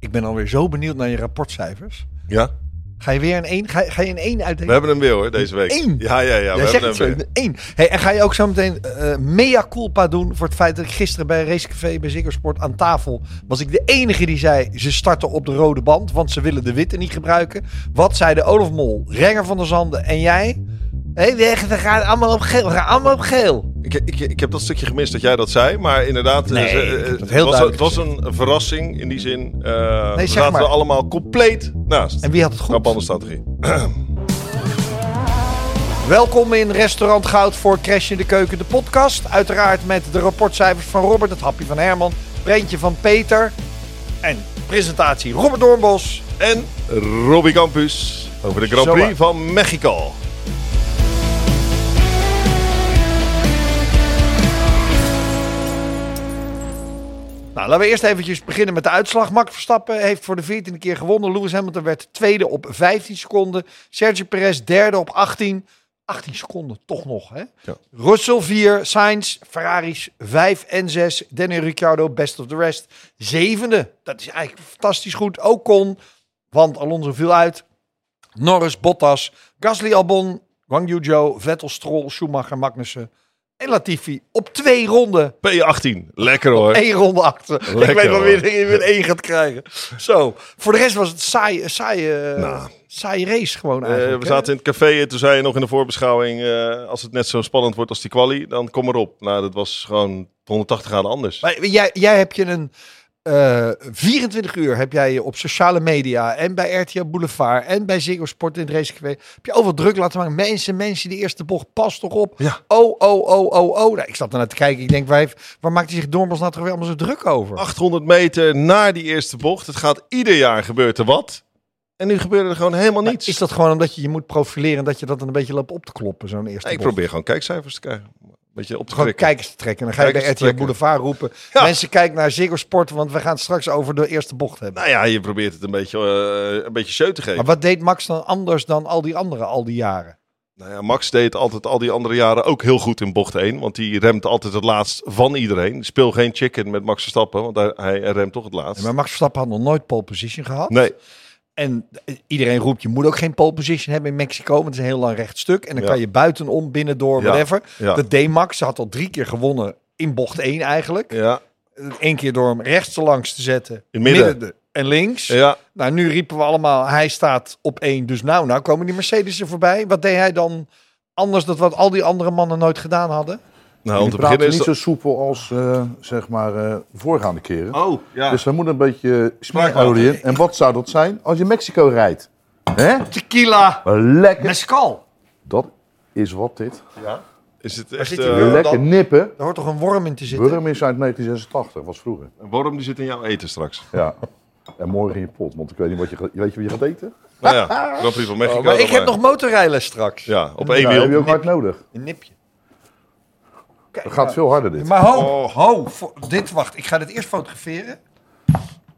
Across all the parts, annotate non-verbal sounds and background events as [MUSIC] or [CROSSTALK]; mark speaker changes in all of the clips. Speaker 1: Ik ben alweer zo benieuwd naar je rapportcijfers.
Speaker 2: Ja,
Speaker 1: Ga je weer een 1? Ga, je- ga je een 1
Speaker 2: we
Speaker 1: uitdenken?
Speaker 2: hebben hem weer hoor, deze week.
Speaker 1: Eén?
Speaker 2: Ja, ja, ja. We
Speaker 1: Jij zegt
Speaker 2: hebben
Speaker 1: het zo,
Speaker 2: hem
Speaker 1: een
Speaker 2: weer.
Speaker 1: één. Hey, en ga je ook zo meteen eh, mea culpa doen voor het feit dat ik gisteren bij Racecafé bij Ziggersport aan tafel was ik de enige die zei ze starten op de rode band, want ze willen de witte niet gebruiken. Wat zeiden Olaf Mol, Renger van der Zanden en jij? Hé, we we gaan allemaal op geel, we gaan allemaal op geel.
Speaker 2: Ik, ik, ik heb dat stukje gemist dat jij dat zei, maar inderdaad,
Speaker 1: Nee,
Speaker 2: eh, ze-
Speaker 1: ik heb
Speaker 2: eh,
Speaker 1: dat
Speaker 2: het
Speaker 1: heel
Speaker 2: was, het
Speaker 1: duidelijk
Speaker 2: was een verrassing in die zin. eh we
Speaker 1: zeg
Speaker 2: zaten
Speaker 1: maar.
Speaker 2: er allemaal compleet naast.
Speaker 1: En wie had het goed?
Speaker 2: Rabandenstrategie.
Speaker 1: Welkom in Restaurant Goud voor Crash in de Keuken, de podcast. Uiteraard met de rapportcijfers van Robert, het hapje van Herman, Brentje van Peter en presentatie Robert Doornbos.
Speaker 2: En Robbie Campus over de Grand
Speaker 1: Zo
Speaker 2: Prix
Speaker 1: waar.
Speaker 2: van Mexico.
Speaker 1: Nou, laten we eerst eventjes beginnen met de uitslag. Max Verstappen heeft voor de 14e keer gewonnen. Lewis Hamilton werd tweede op 15 seconden. Sergio Perez derde op 18. 18 seconden, toch nog, hè?
Speaker 2: Ja.
Speaker 1: Russell 4, Sainz, Ferraris 5 en 6. Daniel Ricciardo, best of the rest, zevende. Dat is eigenlijk fantastisch goed. Ocon, want Alonso viel uit. Norris, Bottas, Gasly, Albon, Guangyu Zhou, Vettel, Stroll, Schumacher, Magnussen en Latifi op twee ronden
Speaker 2: P18, lekker hoor.
Speaker 1: één ronde achter.
Speaker 2: Lekker,
Speaker 1: ik weet wel
Speaker 2: hoor.
Speaker 1: wie er weer één gaat krijgen. Zo. Voor de rest was het saai, een saaie,
Speaker 2: Nou.
Speaker 1: saaie race gewoon
Speaker 2: Eh,
Speaker 1: eigenlijk.
Speaker 2: we
Speaker 1: hè?
Speaker 2: zaten in het café en toen zei je nog in de voorbeschouwing... eh, als het net zo spannend wordt als die quali, dan kom erop. Nou, dat was gewoon 180 graden anders.
Speaker 1: Maar jij, jij heb je een... eh, 24 uur heb jij je op sociale media en bij RTL Boulevard en bij Ziggo Sport in het racecafé. Heb je overal druk laten maken. Mensen, mensen, die eerste bocht, pas toch op.
Speaker 2: Ja.
Speaker 1: Oh, oh, oh, oh, oh. Nou, ik zat ernaar te kijken. Ik denk, waar, heeft, waar maakt hij zich Dormels nou toch weer allemaal zo druk over?
Speaker 2: 800 meter na die eerste bocht. Het gaat ieder jaar gebeurt er wat. En nu gebeurde er gewoon helemaal
Speaker 1: Maar
Speaker 2: niets.
Speaker 1: Is dat gewoon omdat je je moet profileren en dat je dat dan een beetje loopt op te kloppen, zo'n eerste
Speaker 2: Nee, ik
Speaker 1: bocht?
Speaker 2: probeer gewoon kijkcijfers te krijgen. Een beetje op te
Speaker 1: Gewoon
Speaker 2: krikken.
Speaker 1: kijkers te trekken. Dan ga je bij
Speaker 2: Kijkers te
Speaker 1: RTL
Speaker 2: trekken.
Speaker 1: Boulevard roepen.
Speaker 2: Ja.
Speaker 1: Mensen, kijken naar Ziggo Sport, want we gaan het straks over de eerste bocht hebben.
Speaker 2: Nou ja, je probeert het een beetje, eh, een beetje show te geven.
Speaker 1: Maar wat deed Max dan anders dan al die anderen al die jaren?
Speaker 2: Nou ja, Max deed altijd al die andere jaren ook heel goed in bocht 1. Want die remt altijd het laatst van iedereen. Speel geen chicken met Max Verstappen, want hij, hij remt toch het laatst.
Speaker 1: Nee, maar Max Verstappen had nog nooit pole position gehad.
Speaker 2: Nee,
Speaker 1: En eh, iedereen roept, je moet ook geen pole position hebben in Mexico, want het is een heel lang recht stuk. En dan
Speaker 2: Ja.
Speaker 1: kan je buitenom, binnendoor,
Speaker 2: Ja.
Speaker 1: whatever.
Speaker 2: Ja.
Speaker 1: Dat deed Max. Ze had al drie keer gewonnen in bocht 1 eigenlijk.
Speaker 2: ja,
Speaker 1: Eén keer door hem rechts langs te zetten.
Speaker 2: In midden.
Speaker 1: en links.
Speaker 2: ja.
Speaker 1: Nou, nu riepen we allemaal, hij staat op één. Dus nou, nou komen die Mercedes er voorbij. Wat deed hij dan anders dan wat al die andere mannen nooit gedaan hadden?
Speaker 2: Nou, om te
Speaker 3: die praten
Speaker 2: beginnen is
Speaker 3: niet
Speaker 2: dat...
Speaker 3: zo soepel als eh, zeg maar eh, voorgaande keren.
Speaker 2: Oh, ja.
Speaker 3: Dus daar moet een beetje
Speaker 2: houden.
Speaker 3: spraakolie in. En wat zou dat zijn als je Mexico rijdt? Hè?
Speaker 1: Tequila,
Speaker 3: Maar Lekker.
Speaker 1: mescal.
Speaker 3: Dat is wat dit.
Speaker 2: ja. Is het echt...
Speaker 1: zit die
Speaker 2: eh,
Speaker 1: Ja,
Speaker 3: lekker
Speaker 1: dan-
Speaker 3: nippen.
Speaker 1: Daar hoort toch een worm in te zitten?
Speaker 3: Wurm is uit 1986, was vroeger.
Speaker 2: een worm die zit in jouw eten straks.
Speaker 3: Ja. En morgen in je pot, want ik weet niet wat je gaat, weet je wat je gaat eten.
Speaker 2: Nou
Speaker 1: [LAUGHS]
Speaker 2: ja, Grand Prix van Mexico.
Speaker 1: Oh, Maar ik
Speaker 2: dan eh.
Speaker 1: heb nog motorrijles straks.
Speaker 2: Ja, op
Speaker 3: Ja,
Speaker 2: één
Speaker 3: heb je
Speaker 2: wiel.
Speaker 3: ook hard nodig.
Speaker 1: eh. Een nipje.
Speaker 3: Het gaat veel harder dit.
Speaker 1: Maar ho,
Speaker 2: Oh.
Speaker 1: ho, vo- dit wacht. Ik ga dit eerst fotograferen.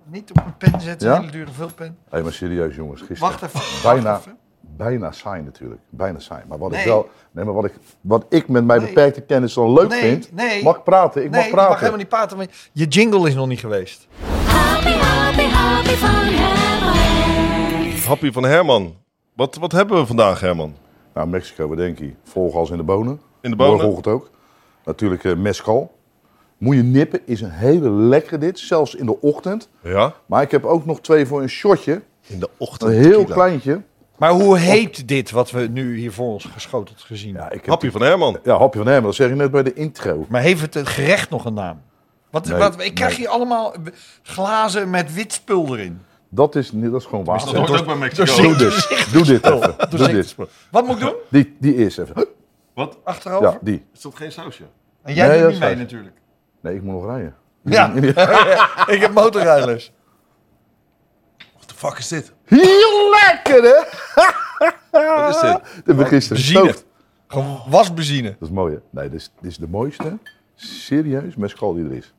Speaker 1: Niet op een pen zetten,
Speaker 3: Ja?
Speaker 1: een hele dure vulpen.
Speaker 3: Hé, maar serieus jongens, gisteren.
Speaker 1: Wacht even.
Speaker 3: Bijna,
Speaker 1: Wacht even.
Speaker 3: bijna saai natuurlijk. Bijna saai. Maar wat
Speaker 1: Nee.
Speaker 3: ik wel. Nee, maar wat ik, wat ik met mijn
Speaker 1: Nee.
Speaker 3: beperkte kennis dan leuk
Speaker 1: Nee,
Speaker 3: vind.
Speaker 1: nee.
Speaker 3: Mag ik praten? Ik
Speaker 1: nee,
Speaker 3: mag
Speaker 1: je mag
Speaker 3: praten.
Speaker 1: helemaal niet praten. maar Je jingle is nog niet geweest.
Speaker 4: Happy, happy, happy van Herman.
Speaker 2: Happy van Herman. Wat, wat hebben we vandaag, Herman?
Speaker 3: Nou, Mexico, wat denk je? Volgas in de bonen.
Speaker 2: In de bonen.
Speaker 3: Morgenochtend ook. Natuurlijk eh mescal. Moet je nippen, is een hele lekkere dit. Zelfs in de ochtend.
Speaker 2: Ja?
Speaker 3: Maar ik heb ook nog twee voor een shotje.
Speaker 2: In de ochtend.
Speaker 3: Een heel
Speaker 2: tequila.
Speaker 3: kleintje.
Speaker 1: Maar hoe heet dit wat we nu hier voor ons geschoteld gezien hebben?
Speaker 3: Ja, ik heb
Speaker 2: Happy van Herman.
Speaker 3: ja, hapje van hem. Dat zeg ik net bij de intro.
Speaker 1: Maar heeft het het gerecht nog een naam? Wat,
Speaker 3: Nee,
Speaker 1: wat, ik krijg
Speaker 3: nee.
Speaker 1: hier allemaal glazen met wit spul erin.
Speaker 3: Dat is, niet- dat is gewoon water.
Speaker 2: hoort ook bij Mexico.
Speaker 3: Doe dit. Doe dit even. Doe dit.
Speaker 1: Wat moet ik
Speaker 3: [LAUGHS]
Speaker 1: doen?
Speaker 3: Die, die eerst even.
Speaker 2: Wat?
Speaker 1: Achterover?
Speaker 3: Ja, die.
Speaker 2: Is dat geen sausje?
Speaker 1: En jij
Speaker 3: Nee,
Speaker 1: doet
Speaker 3: dat
Speaker 1: niet
Speaker 3: is
Speaker 1: mee
Speaker 3: waar.
Speaker 1: natuurlijk. [LAUGHS]
Speaker 3: Nee, ik moet nog rijden. [LAUGHS]
Speaker 1: Ja, ik heb motorrijders.
Speaker 2: What the fuck is dit?
Speaker 3: Heel lekker, hè?
Speaker 2: Wat is dit?
Speaker 3: [LAUGHS] Dat heb ik gisteren
Speaker 1: Benzine.
Speaker 3: gestookt.
Speaker 1: Gewoon wasbenzine.
Speaker 3: Dat is mooi, hè? Nee, dit is, dit is de mooiste, serieus, mescal die er is.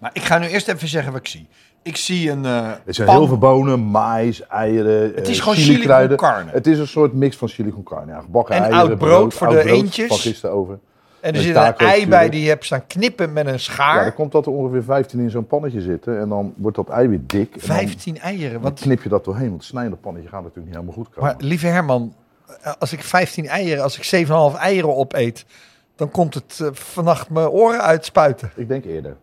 Speaker 1: Maar ik ga nu eerst even zeggen wat ik zie. Ik zie een eh,
Speaker 3: Er zijn
Speaker 1: pan.
Speaker 3: heel veel bonen, maïs, eieren, eh, Het
Speaker 1: is gewoon chili con carne.
Speaker 3: Het is een soort mix van chili con carne. Ja, gebakken
Speaker 1: En
Speaker 3: eieren,
Speaker 1: oud brood voor
Speaker 3: oud
Speaker 1: de
Speaker 3: brood
Speaker 1: eendjes.
Speaker 3: Van gisteren over.
Speaker 1: En er
Speaker 3: Met
Speaker 1: zit een
Speaker 3: taco's
Speaker 1: ei bij
Speaker 3: natuurlijk.
Speaker 1: die je hebt staan knippen met een
Speaker 3: Ja,
Speaker 1: schaar.
Speaker 3: dan komt dat er ongeveer 15 in zo'n pannetje zitten. En dan wordt dat ei weer dik. En dan-
Speaker 1: 15 eieren.
Speaker 3: Dan
Speaker 1: Wat,
Speaker 3: knip je dat doorheen, want het snijden pannetje gaat natuurlijk niet helemaal goed komen.
Speaker 1: maar lieve Herman, eh, als ik 15 eieren, als ik 7,5 eieren opeet, dan komt het eh, vannacht mijn oren uitspuiten.
Speaker 3: Ik denk eerder.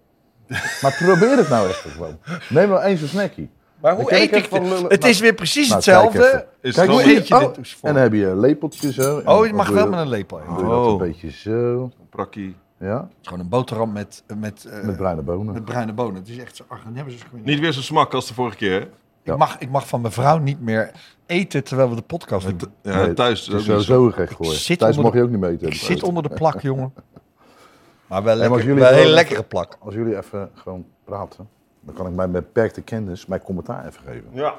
Speaker 3: Maar probeer het nou echt gewoon. Neem nou eens een snackie.
Speaker 1: Maar
Speaker 3: hoe
Speaker 1: hoe
Speaker 3: kijk eet
Speaker 1: eet
Speaker 3: ik ik
Speaker 1: ik
Speaker 3: van dit? lullen-
Speaker 1: Het
Speaker 3: Nou,
Speaker 1: is weer precies
Speaker 3: nou, kijk even.
Speaker 1: hetzelfde.
Speaker 2: Is
Speaker 3: Kijk,
Speaker 2: het
Speaker 1: Hoe
Speaker 3: hier-
Speaker 1: eet je
Speaker 3: oh,
Speaker 1: dit dus voor?
Speaker 3: En dan heb je lepeltjes zo. En
Speaker 1: Oh, je
Speaker 3: dan
Speaker 1: mag
Speaker 3: doe
Speaker 1: wel met een lepel. eten.
Speaker 3: dan doe je dat een
Speaker 2: Oh.
Speaker 3: beetje zo.
Speaker 2: een prakkie?
Speaker 3: Ja,
Speaker 1: Het is gewoon een boterham met, met, eh,
Speaker 3: met bruine bonen.
Speaker 1: met bruine bonen. Het is echt zo. dus Ach, dan hebben ze
Speaker 2: Niet weer zo smak als de vorige keer. hè?
Speaker 3: Ja.
Speaker 1: Ik, mag, ik mag van mijn vrouw niet meer eten terwijl we de podcast doen.
Speaker 2: Ja,
Speaker 3: Nee,
Speaker 2: thuis.
Speaker 3: Het is
Speaker 2: is ook niet zo.
Speaker 3: sowieso recht voor je.
Speaker 1: zit
Speaker 3: Thuis
Speaker 1: onder
Speaker 3: mag
Speaker 1: de-
Speaker 3: je ook niet mee eten.
Speaker 1: Ik zit onder de plak, jongen. Maar wel
Speaker 3: maar als
Speaker 1: lekker,
Speaker 3: jullie
Speaker 1: wel een
Speaker 3: wel-
Speaker 1: hele lekkere plak.
Speaker 3: Als jullie even gewoon praten, dan kan ik mijn beperkte kennis, mijn commentaar even geven.
Speaker 2: Ja.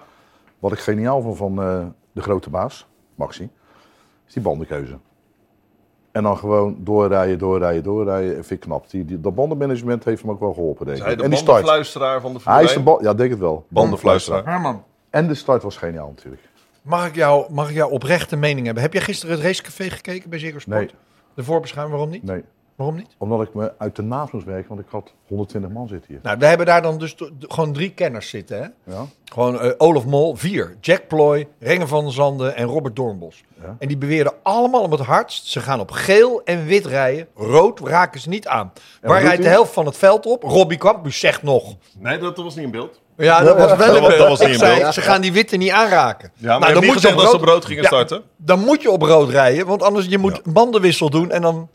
Speaker 3: Wat ik geniaal vond van eh, de grote baas, Maxi, is die bandenkeuze. En dan gewoon doorrijden, doorrijden, doorrijden. Vind ik knap. Die, die, dat bandenmanagement heeft hem ook wel geholpen, denk
Speaker 2: Is
Speaker 3: ik.
Speaker 2: hij de
Speaker 3: en die start.
Speaker 2: bandenfluisteraar van de Formule
Speaker 3: Hij is de
Speaker 2: 1?
Speaker 3: ba- ja, denk het wel.
Speaker 2: Bandenfluisteraar.
Speaker 1: Herman,
Speaker 3: En de start was geniaal natuurlijk.
Speaker 1: mag ik, jou, mag ik jouw oprechte mening hebben? Heb jij gisteren het racecafé gekeken bij Ziggo Sport?
Speaker 3: Nee.
Speaker 1: De voorbeschouwing, waarom niet?
Speaker 3: Nee,
Speaker 1: Waarom niet?
Speaker 3: omdat ik me uit de naast moest werken, want ik had 120 man zitten hier.
Speaker 1: Nou, we hebben daar dan dus to- d- gewoon drie kenners zitten, hè?
Speaker 3: Ja?
Speaker 1: Gewoon eh, Olaf Mol, vier. Jack Ploy, Renger van der Zanden en Robert Doornbos.
Speaker 3: Ja.
Speaker 1: En die beweerden allemaal om het hardst. Ze gaan op geel en wit rijden. Rood raken ze niet aan. Waar
Speaker 3: doet
Speaker 1: rijdt de
Speaker 3: hij?
Speaker 1: helft van het veld op? Robbie Campus zegt nog.
Speaker 2: Nee, dat was niet in beeld.
Speaker 1: Ja, dat was wel
Speaker 2: Dat
Speaker 1: een
Speaker 2: was- dat was
Speaker 1: Ik
Speaker 2: niet in
Speaker 1: zei,
Speaker 2: beeld.
Speaker 1: Ze gaan die witte niet aanraken. Nou,
Speaker 2: Ja, maar dan moet je
Speaker 1: op
Speaker 2: dat ze op
Speaker 1: rood-
Speaker 2: rood gingen
Speaker 1: Ja,
Speaker 2: starten.
Speaker 1: Dan moet je op rood rijden, want anders je moet bandenwissel doen. En dan,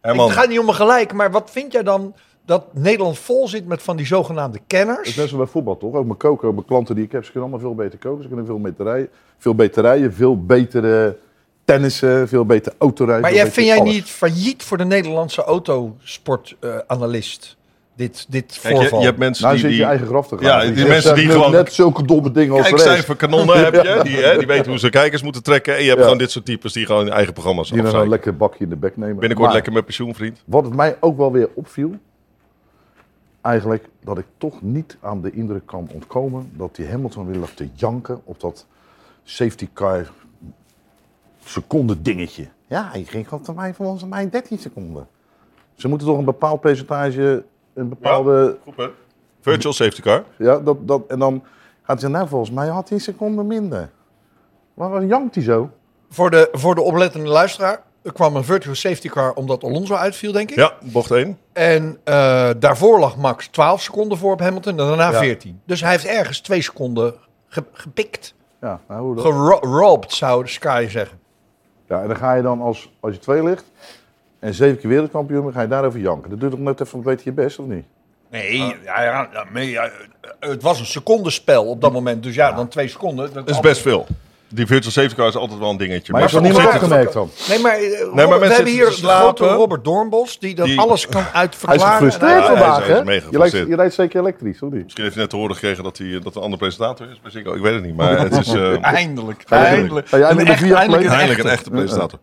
Speaker 2: Herman,
Speaker 1: het gaat niet om een gelijk, maar wat vind jij dan dat Nederland vol zit met van die zogenaamde
Speaker 3: Dat is
Speaker 1: kenners?
Speaker 3: net zo bij voetbal toch? Ook mijn koken, mijn klanten die ik heb, ze kunnen allemaal veel beter koken. Ze kunnen veel beter rijden, veel beter, rijden, veel betere tennissen, veel beter autorijden.
Speaker 1: Maar
Speaker 3: veel
Speaker 1: jij,
Speaker 3: beter
Speaker 1: vind jij
Speaker 3: alles.
Speaker 1: niet failliet voor de Nederlandse autosportanalist? dit, dit
Speaker 2: kijk, je,
Speaker 1: voorval.
Speaker 2: je hebt mensen
Speaker 3: Nou
Speaker 2: die...
Speaker 3: zit je
Speaker 2: die-
Speaker 3: eigen graf te gaan.
Speaker 2: Ja, die
Speaker 3: zegt,
Speaker 2: mensen die
Speaker 3: zeg,
Speaker 2: gewoon-
Speaker 3: Net zulke domme dingen als de rest.
Speaker 2: Kijkcijferkanonnen heb
Speaker 3: [LAUGHS]
Speaker 2: je. Die, hè, die weten hoe ze kijkers moeten trekken. En je hebt
Speaker 3: Ja.
Speaker 2: gewoon dit soort types die gewoon hun eigen programma's
Speaker 3: Die dan
Speaker 2: afzeiken.
Speaker 3: een lekker bakje in de bek nemen.
Speaker 2: Binnenkort
Speaker 3: Maar
Speaker 2: lekker met pensioen, vriend.
Speaker 3: Wat het mij ook wel weer opviel, eigenlijk dat ik toch niet aan de indruk kan ontkomen dat die Hamilton weer lag te janken op dat safety car seconde dingetje. Ja, hij ging gewoon van mij volgens mij 13 seconden. Ze moeten toch een bepaald percentage, een bepaalde,
Speaker 2: Goed, hè? Virtual safety car.
Speaker 3: ja, dat, dat, en dan gaat hij nou volgens mij had hij een seconde minder. Waarom jankt hij zo?
Speaker 1: Voor, de, voor de oplettende luisteraar. Er kwam een virtual safety car omdat Alonso uitviel, denk ik.
Speaker 2: Ja, bocht 1.
Speaker 1: En eh, daarvoor lag Max 12 seconden voor op Hamilton en daarna
Speaker 3: Ja.
Speaker 1: 14. Dus hij heeft ergens twee seconden ge- gepikt.
Speaker 3: Ja, nou, hoe dat?
Speaker 1: Gerobbed, zou de Sky zeggen.
Speaker 3: Ja, en dan ga je dan als, als je twee ligt en zeven keer wereldkampioen, dan ga je daarover janken. Dat doet toch net even een beetje je best, of niet?
Speaker 1: Nee, ja, ja, ja, nee, ja, het was een secondenspel op dat moment. Dus ja, dan twee seconden.
Speaker 2: Dat is best veel. Die virtual safety car is altijd wel een dingetje.
Speaker 3: Maar
Speaker 2: Maar
Speaker 3: heeft dat
Speaker 1: voor
Speaker 3: niemand
Speaker 1: ons zit
Speaker 3: opgemerkt dan?
Speaker 1: Nee, maar, eh, Robert- we
Speaker 2: mensen
Speaker 1: hebben hier de
Speaker 2: zitten te slapen.
Speaker 1: grote Robert Doornbos... die dat
Speaker 2: Die-
Speaker 1: alles [LAUGHS] kan
Speaker 3: Hij is
Speaker 1: uitverklaren.
Speaker 3: gefrustreerd
Speaker 2: Ja, hij is-
Speaker 3: vandaag,
Speaker 2: hij is
Speaker 3: hè?
Speaker 2: mega
Speaker 3: Je rijdt,
Speaker 2: gefrustreerd.
Speaker 3: je rijdt zeker elektrisch, of niet?
Speaker 2: Misschien heeft hij net te horen gekregen dat, hij, dat er een andere presentator is. bij Ziggo. Ik weet het niet, maar het is... eh,
Speaker 1: Eindelijk.
Speaker 3: Eindelijk.
Speaker 2: Oh
Speaker 3: Ga jij met de
Speaker 1: Echt-
Speaker 3: Fiat mee?
Speaker 1: eindelijk een
Speaker 2: Eindelijk een echte presentator.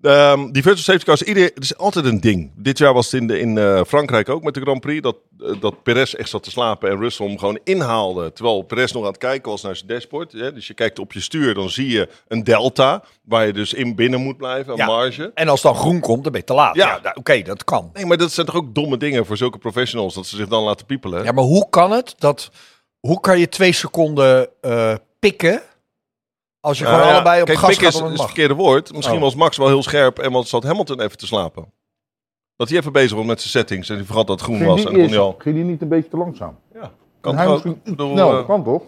Speaker 2: Ehm, die virtual safety cars, ieder, het is altijd een ding. Dit jaar was het in, de, in eh, Frankrijk ook met de Grand Prix. Dat, eh, dat Perez echt zat te slapen en Russell hem gewoon inhaalde. Terwijl Perez nog aan het kijken was naar zijn dashboard. Hè? Dus je kijkt op je stuur, dan zie je een delta. Waar je dus in binnen moet blijven, een
Speaker 1: Ja.
Speaker 2: marge.
Speaker 1: En als dan groen komt, dan ben je te laat.
Speaker 2: Ja.
Speaker 1: Ja, nou, oké, dat kan.
Speaker 2: Nee, maar dat zijn toch ook domme dingen voor zulke professionals. Dat ze zich dan laten piepelen. hè?
Speaker 1: Ja, maar hoe kan het dat... Hoe kan je twee seconden eh, pikken... als je
Speaker 2: Nou
Speaker 1: gewoon
Speaker 2: ja,
Speaker 1: allebei op
Speaker 2: kijk,
Speaker 1: gas
Speaker 2: pikken
Speaker 1: gaat
Speaker 2: is,
Speaker 1: om
Speaker 2: is
Speaker 1: het
Speaker 2: het
Speaker 1: mag?
Speaker 2: verkeerde woord. Misschien
Speaker 1: Oh.
Speaker 2: was Max wel heel scherp en was zat Hamilton even te slapen. Dat hij even bezig was met zijn settings en hij vergat dat het groen
Speaker 3: Ging
Speaker 2: was.
Speaker 3: die,
Speaker 2: En dan kon hij
Speaker 3: eerst,
Speaker 2: al...
Speaker 3: ging die niet een beetje te langzaam?
Speaker 2: Ja,
Speaker 3: En
Speaker 2: kan
Speaker 3: hij
Speaker 2: toch ook?
Speaker 3: misschien Nou,
Speaker 2: Ik bedoel,
Speaker 3: snel,
Speaker 2: eh,
Speaker 3: dat kan toch?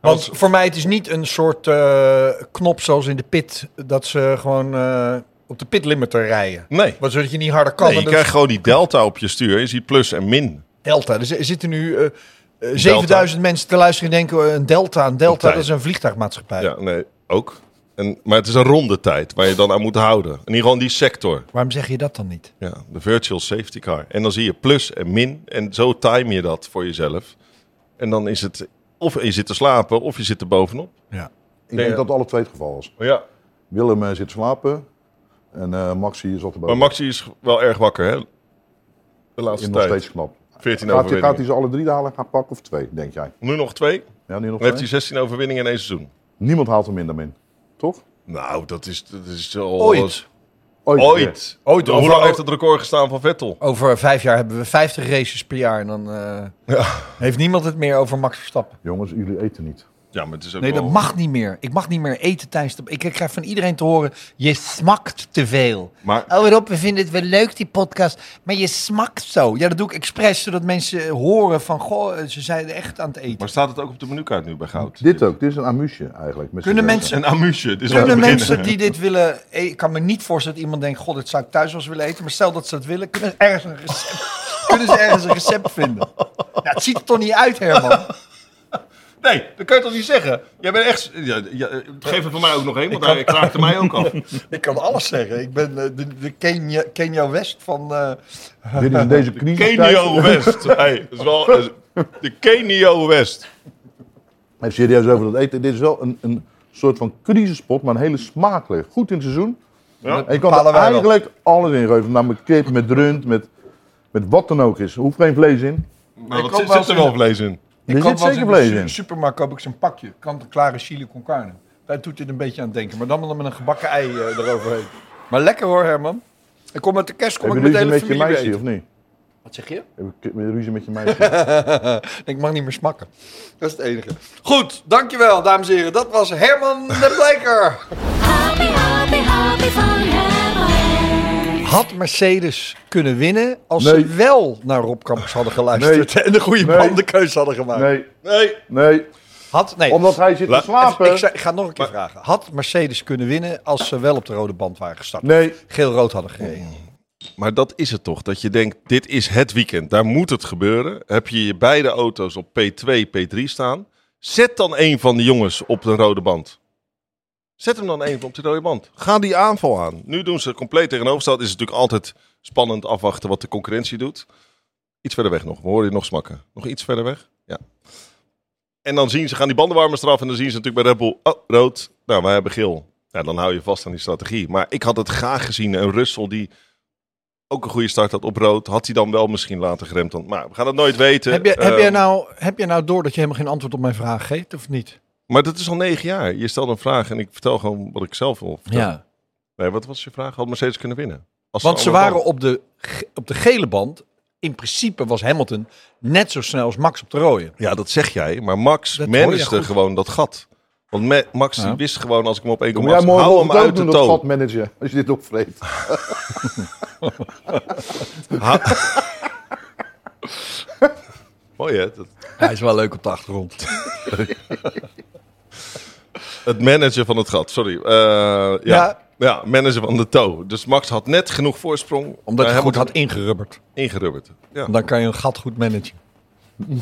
Speaker 1: Want voor mij het is niet een soort eh, knop zoals in de pit... dat ze gewoon eh, op de pitlimiter rijden.
Speaker 2: Nee.
Speaker 1: Want zodat je niet harder kan.
Speaker 2: nee, je
Speaker 1: en dat dus-
Speaker 2: krijgt gewoon die delta op je stuur. Je ziet plus en min.
Speaker 1: Delta. Er zi- zitten nu eh, eh, 7000 mensen te luisteren en denken... eh, een Delta, een Delta,
Speaker 2: Partij.
Speaker 1: dat is een vliegtuigmaatschappij.
Speaker 2: Ja, nee, ook. En, maar het is een ronde tijd waar je dan aan moet houden. En ieder geval die sector.
Speaker 1: Waarom zeg je dat dan niet?
Speaker 2: Ja, de virtual safety car. En dan zie je plus en min. En zo time je dat voor jezelf. En dan is het... Of je zit te slapen, of je zit er bovenop.
Speaker 1: Ja.
Speaker 3: Ik denk
Speaker 2: ja.
Speaker 3: dat het alle twee het geval is.
Speaker 2: Maar ja,
Speaker 3: Willem eh, zit slapen en eh, Maxi zat
Speaker 2: maar
Speaker 3: erboven.
Speaker 2: Maxi is wel erg wakker, hè? De laatste
Speaker 3: is nog
Speaker 2: tijd.
Speaker 3: steeds knap.
Speaker 2: 14
Speaker 3: Gaat, hij- gaat hij
Speaker 2: overwinningen.
Speaker 3: ze alle drie halen gaan pakken of twee, denk jij?
Speaker 2: Nu nog twee.
Speaker 3: Ja, nu nog
Speaker 2: Dan heeft hij
Speaker 3: twee?
Speaker 2: 16 overwinningen in één seizoen.
Speaker 3: Niemand haalt hem minder in, toch?
Speaker 2: Nou, dat is, dat is al...
Speaker 1: Ooit.
Speaker 3: Ooit. weer.
Speaker 2: Ooit.
Speaker 1: Ooit.
Speaker 2: Hoe lang
Speaker 1: Over-
Speaker 2: heeft het record gestaan van Vettel?
Speaker 1: Over vijf jaar hebben we 50 races per jaar. En dan eh, heeft niemand het meer over Max Verstappen.
Speaker 3: Jongens, jullie eten niet.
Speaker 2: Ja, maar het is ook
Speaker 1: Nee, dat
Speaker 2: wel-
Speaker 1: mag niet meer. Ik mag niet meer eten tijdens de... Ik krijg van iedereen te horen, je smakt te veel.
Speaker 2: Maar-
Speaker 1: Oh Rob, we vinden het wel leuk, die podcast. Maar je smakt zo. Ja, dat doe ik expres, zodat mensen horen van... Goh, ze zijn echt aan het eten.
Speaker 2: Maar staat het ook op de menukaart nu bij Goud?
Speaker 3: Dit ook, dit is een amusje eigenlijk. met
Speaker 1: Kunnen
Speaker 3: z'n
Speaker 1: mensen-
Speaker 2: Een amuse. dit is waar
Speaker 1: Kunnen
Speaker 2: we beginnen.
Speaker 1: mensen die dit willen... Ik kan me niet voorstellen dat iemand denkt... God, dit zou ik thuis wel eens willen eten. Maar stel dat ze dat willen, kunnen ze ergens een recept, [LAUGHS] kunnen ze ergens een recept vinden. Ja, het ziet er toch niet uit, Herman?
Speaker 2: Nee, dat kan je toch niet zeggen? Jij bent echt... Ja, ja, eh, geef het voor mij ook nog één, want hij kraakte mij ook af.
Speaker 1: [LAUGHS] Ik kan alles zeggen. Ik ben eh, de, de Kenya, Kenya West van... eh,
Speaker 3: zeggen. Dit
Speaker 1: [LAUGHS]
Speaker 3: is in deze knie.
Speaker 2: Kenio West. Hey, dat is wel, eh, de Kenio West.
Speaker 3: Even serieus over dat eten. Dit is wel een, een soort van crisispot, maar een hele smakelijk. Goed in het seizoen.
Speaker 2: Ja.
Speaker 3: En je kan
Speaker 1: bepalen
Speaker 3: er
Speaker 1: wij wel.
Speaker 3: eigenlijk alles in geven. Namelijk kip, met rund, met, met wat dan ook is. Er hoeft geen vlees in.
Speaker 2: Maar
Speaker 1: Ik
Speaker 2: wat
Speaker 1: koop
Speaker 2: zit,
Speaker 1: wel
Speaker 2: zit er wel vlees in? [LAUGHS]
Speaker 1: Ik
Speaker 3: Er
Speaker 1: koop
Speaker 3: zit
Speaker 1: wel eens
Speaker 3: zeker
Speaker 1: in de
Speaker 3: vlees
Speaker 1: su-
Speaker 3: in.
Speaker 1: supermarkt koop ik zo'n pakje. Kant-en-klare chili con carne. Daar doet dit een beetje aan denken. Maar dan wel met een gebakken ei eh, eroverheen. Maar lekker hoor, Herman. Ik kom met de kerst, kom
Speaker 3: Heb je
Speaker 1: ik met de
Speaker 3: ruzie
Speaker 1: hele
Speaker 3: met je
Speaker 1: familie
Speaker 3: meisje
Speaker 1: mee.
Speaker 3: of niet?
Speaker 1: Wat zeg je?
Speaker 3: Heb je k- ruzie met je meisje? [LAUGHS]
Speaker 1: Ik mag niet meer smakken. Dat is het enige. Goed, dankjewel dames en heren. Dat was Herman de Bleker.
Speaker 4: Happy, happy, happy fun heaven.
Speaker 1: [LAUGHS] Had Mercedes kunnen winnen als
Speaker 3: Nee.
Speaker 1: ze wel naar Rob Campos hadden geluisterd en de goede [LAUGHS]
Speaker 3: Nee.
Speaker 1: bandenkeuze hadden gemaakt?
Speaker 3: Nee,
Speaker 2: Nee.
Speaker 3: nee.
Speaker 1: Had, nee.
Speaker 3: Omdat hij zit te slapen.
Speaker 1: Even- Ik, zei- ik ga nog een keer vragen. Had Mercedes kunnen winnen als ze wel op de rode band waren gestart?
Speaker 3: Nee.
Speaker 1: Geel-rood hadden gereden.
Speaker 2: Maar dat is het toch, dat je denkt, dit is het weekend, daar moet het gebeuren. Heb je je beide auto's op P2, P3 staan, zet dan een van de jongens op de rode band. Zet hem dan even op de rode band. Ga die aanval aan. Nu doen ze compleet tegenovergesteld. Is het natuurlijk altijd spannend afwachten wat de concurrentie doet. Iets verder weg nog. We horen je nog smakken. Nog iets verder weg. Ja. En dan zien ze, gaan die bandenwarmers eraf. En dan zien ze natuurlijk bij Red Bull, oh, rood. Nou, wij hebben geel. Ja, dan hou je vast aan die strategie. Maar ik had het graag gezien. Een Russell die ook een goede start had op rood. Had hij dan wel misschien later geremd. Dan, maar we gaan het nooit weten.
Speaker 1: Heb, je, heb,
Speaker 2: Ehm,
Speaker 1: jij nou, heb jij nou door dat je helemaal geen antwoord op mijn vraag geeft, of niet?
Speaker 2: Maar dat is al negen jaar. Je stelt een vraag en ik vertel gewoon wat ik zelf wil vertellen. Nee, wat was je vraag? Had Mercedes kunnen winnen? Als
Speaker 1: Want ze
Speaker 2: allemaal-
Speaker 1: waren op de, ge- op de gele band. In principe was Hamilton net zo snel als Max op de rode.
Speaker 2: Ja, dat zeg jij, maar Max
Speaker 1: Dat hoor
Speaker 2: managde
Speaker 1: je goed.
Speaker 2: gewoon dat gat. Want Ma- Max die
Speaker 1: Ja.
Speaker 2: wist gewoon als ik hem op één kom
Speaker 3: Kom jij morgen
Speaker 2: hou hem
Speaker 3: ook
Speaker 2: uit de
Speaker 3: doen, dat
Speaker 2: toon.
Speaker 3: gatmanager, als je dit opvreet.
Speaker 2: [LAUGHS] Mooi hè? Dat-
Speaker 1: Hij is wel leuk op de achtergrond.
Speaker 2: het manager van het gat, sorry. Eh, ja.
Speaker 1: Ja.
Speaker 2: Ja. manager van de toe. Dus Max had net genoeg voorsprong.
Speaker 1: [LAUGHS] Omdat hij
Speaker 2: hij
Speaker 1: goed had ingerubberd.
Speaker 2: ingerubberd. Ja.
Speaker 1: Dan kan je een gat goed managen.
Speaker 2: Hebben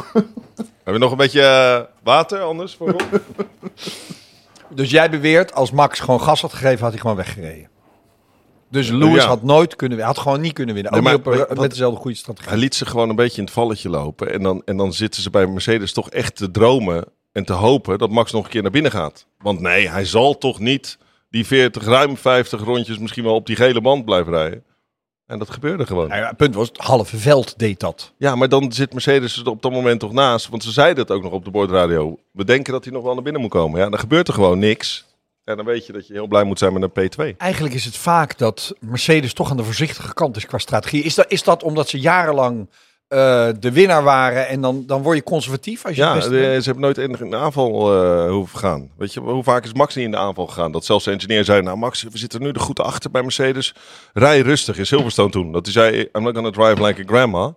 Speaker 2: we nog een beetje eh, water anders voor Rob?
Speaker 1: Dus jij beweert, als Max gewoon gas had gegeven, had hij gewoon weggereden. Dus Lewis
Speaker 2: Ja.
Speaker 1: had nooit kunnen winnen. Had gewoon niet kunnen winnen.
Speaker 2: Nee,
Speaker 1: Ook
Speaker 2: maar
Speaker 1: niet op, een-
Speaker 2: wat-
Speaker 1: met dezelfde goede strategie.
Speaker 2: Hij liet ze gewoon een beetje in het valletje lopen. En dan, en dan zitten ze bij Mercedes toch echt te dromen en te hopen dat Max nog een keer naar binnen gaat. Want nee, hij zal toch niet die 40, ruim 50 rondjes misschien wel op die gele band blijven rijden. En dat gebeurde gewoon.
Speaker 1: Nou ja, het punt was, het halve veld deed dat.
Speaker 2: Ja, maar dan zit Mercedes er op dat moment toch naast. Want ze zeiden het ook nog op de bordradio. We denken dat hij nog wel naar binnen moet komen. Ja, dan gebeurt er gewoon niks. En dan weet je dat je heel blij moet zijn met een P2.
Speaker 1: Eigenlijk is het vaak dat Mercedes toch aan de voorzichtige kant is qua strategie. Is dat, is dat omdat ze jarenlang eh, de winnaar waren en dan, dan word je conservatief als je het
Speaker 2: Ja,
Speaker 1: beste
Speaker 2: de-
Speaker 1: bent?
Speaker 2: ze hebben nooit in de aanval eh, hoeven gaan. Weet je, hoe vaak is Max niet in de aanval gegaan? Dat zelfs de engineer zei, nou Max, we zitten nu er goed achter bij Mercedes. Rij rustig in Silverstone toen. Dat hij zei, I'm not gonna drive like a grandma.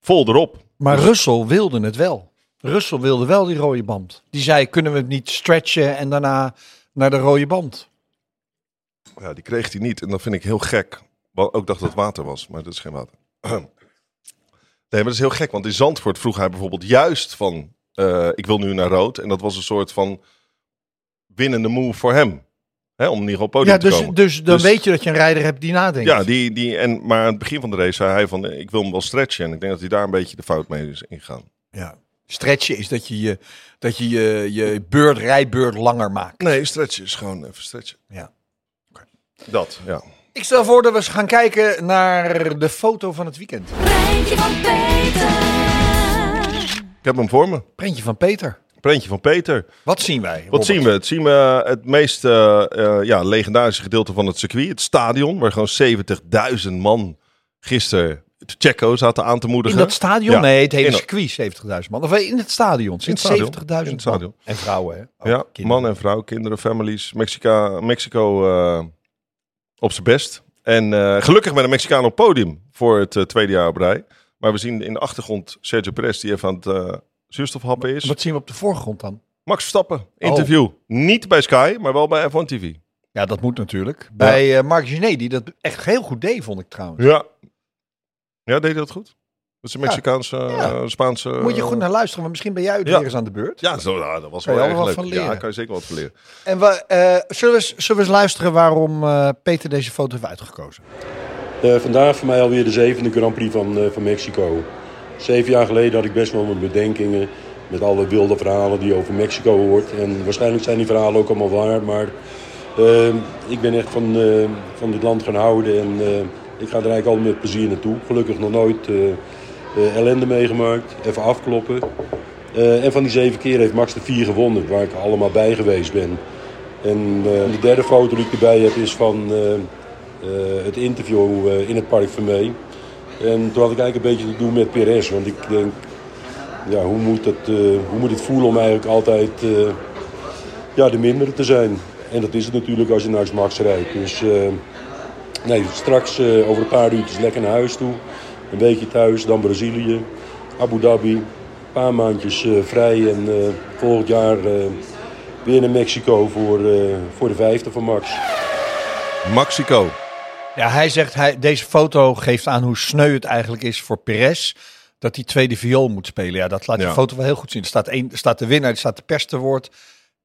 Speaker 2: Vol erop.
Speaker 1: Maar Russell wilde het wel. Russell wilde wel die rode band. Die zei, kunnen we het niet stretchen en daarna naar de rode band?
Speaker 2: Ja, die kreeg hij niet. En dat vind ik heel gek. Wel, ook dacht dat het water was, maar dat is geen water. [CLEARS THROAT] Nee, maar dat is heel gek. Want in Zandvoort vroeg hij bijvoorbeeld juist van... eh, ik wil nu naar rood. En dat was een soort van winnende move voor hem. Hè, om niet op het podium
Speaker 1: Ja,
Speaker 2: te
Speaker 1: dus,
Speaker 2: komen.
Speaker 1: dus dan
Speaker 2: Dus-
Speaker 1: weet je dat je een rijder hebt die nadenkt.
Speaker 2: Ja, die, die, en, maar aan het begin van de race zei hij van... eh, ik wil hem wel stretchen. En ik denk dat hij daar een beetje de fout mee is ingegaan.
Speaker 1: Ja. Stretchen is dat je je, dat je, je, je beurt, rijbeurt langer maakt.
Speaker 2: Nee, stretchen is gewoon even stretchen.
Speaker 1: Ja.
Speaker 2: Dat, ja.
Speaker 1: Ik stel voor dat we eens gaan kijken naar de foto van het weekend.
Speaker 4: Rijntje van Peter.
Speaker 2: Ik heb hem voor me.
Speaker 1: Prentje van Peter.
Speaker 2: Prentje van Peter.
Speaker 1: Wat zien wij?
Speaker 2: Wat zien we? Het zien we het meest eh, eh, ja, legendarische gedeelte van het circuit, het stadion, waar gewoon 70.000 man gisteren de Checo zaten aan te
Speaker 1: In
Speaker 2: moedigen.
Speaker 1: dat stadion?
Speaker 2: Ja,
Speaker 1: Nee, het hele
Speaker 2: in dat-
Speaker 1: circuit 70.000 man. Of eh, in het stadion.
Speaker 2: In het
Speaker 1: Sinds
Speaker 2: stadion.
Speaker 1: 70.000
Speaker 2: In
Speaker 1: man.
Speaker 2: het stadion.
Speaker 1: En vrouwen, hè? Oh,
Speaker 2: ja,
Speaker 1: kinderen.
Speaker 2: man en vrouw, kinderen, families. Mexica, Mexico eh, op zijn best. En eh, gelukkig met een Mexicaan op podium voor het eh, tweede jaar op rij. Maar we zien in de achtergrond Sergio Perez die even aan het eh, zuurstofhappen is.
Speaker 1: Wat Oh. zien we op de voorgrond dan?
Speaker 2: Max Verstappen, interview. Niet bij Sky, maar wel bij F1 TV.
Speaker 1: Ja, dat moet natuurlijk. Bij eh Marc Genet, die dat echt heel goed deed, vond ik trouwens.
Speaker 2: Ja. Ja, deed hij dat goed? Dat is een Mexicaanse,
Speaker 1: Ja.
Speaker 2: eh, Spaanse...
Speaker 1: Moet je goed naar luisteren, want misschien ben jij het
Speaker 2: Ja.
Speaker 1: weer eens aan de beurt.
Speaker 2: Ja, zo, nou, dat was
Speaker 1: Kan
Speaker 2: wel
Speaker 1: je
Speaker 2: erg
Speaker 1: allemaal
Speaker 2: leuk.
Speaker 1: wat van
Speaker 2: Ja,
Speaker 1: leren.
Speaker 2: kan je zeker wat van leren.
Speaker 1: En we, eh, zullen, we, eens- zullen we eens luisteren waarom eh, Peter deze foto heeft uitgekozen?
Speaker 5: Eh, vandaag voor mij alweer de zevende Grand Prix van, eh, van Mexico. Zeven jaar geleden had ik best wel mijn bedenkingen met alle wilde verhalen die je over Mexico hoort. En waarschijnlijk zijn die verhalen ook allemaal waar, maar eh, ik ben echt van, eh, van dit land gaan houden en eh, ik ga er eigenlijk al met plezier naartoe. Gelukkig nog nooit eh, eh, ellende meegemaakt, even afkloppen. Eh, en van die zeven keer heeft Max de vier gewonnen, waar ik allemaal bij geweest ben. En eh, de derde foto die ik erbij heb is van eh, eh, het interview eh, in het Park Vermee. En toen had ik eigenlijk een beetje te doen met PRS. Want ik denk, ja, hoe, moet het, eh, hoe moet het voelen om eigenlijk altijd eh, ja, de mindere te zijn? En dat is het natuurlijk als je naar Max rijdt. Dus eh, nee, straks eh, over een paar uurtjes lekker naar huis toe. Een weekje thuis, dan Brazilië, Abu Dhabi. Een paar maandjes eh, vrij en eh, volgend jaar eh, weer naar Mexico voor, eh, voor de vijfde van Max.
Speaker 2: Mexico.
Speaker 1: Ja, hij zegt, hij, deze foto geeft aan hoe sneu het eigenlijk is voor Perez. Dat hij tweede viool moet spelen. Ja, dat laat
Speaker 2: Ja.
Speaker 1: die foto wel heel goed zien. Er staat, één, er staat de winnaar, er staat de pers te woord.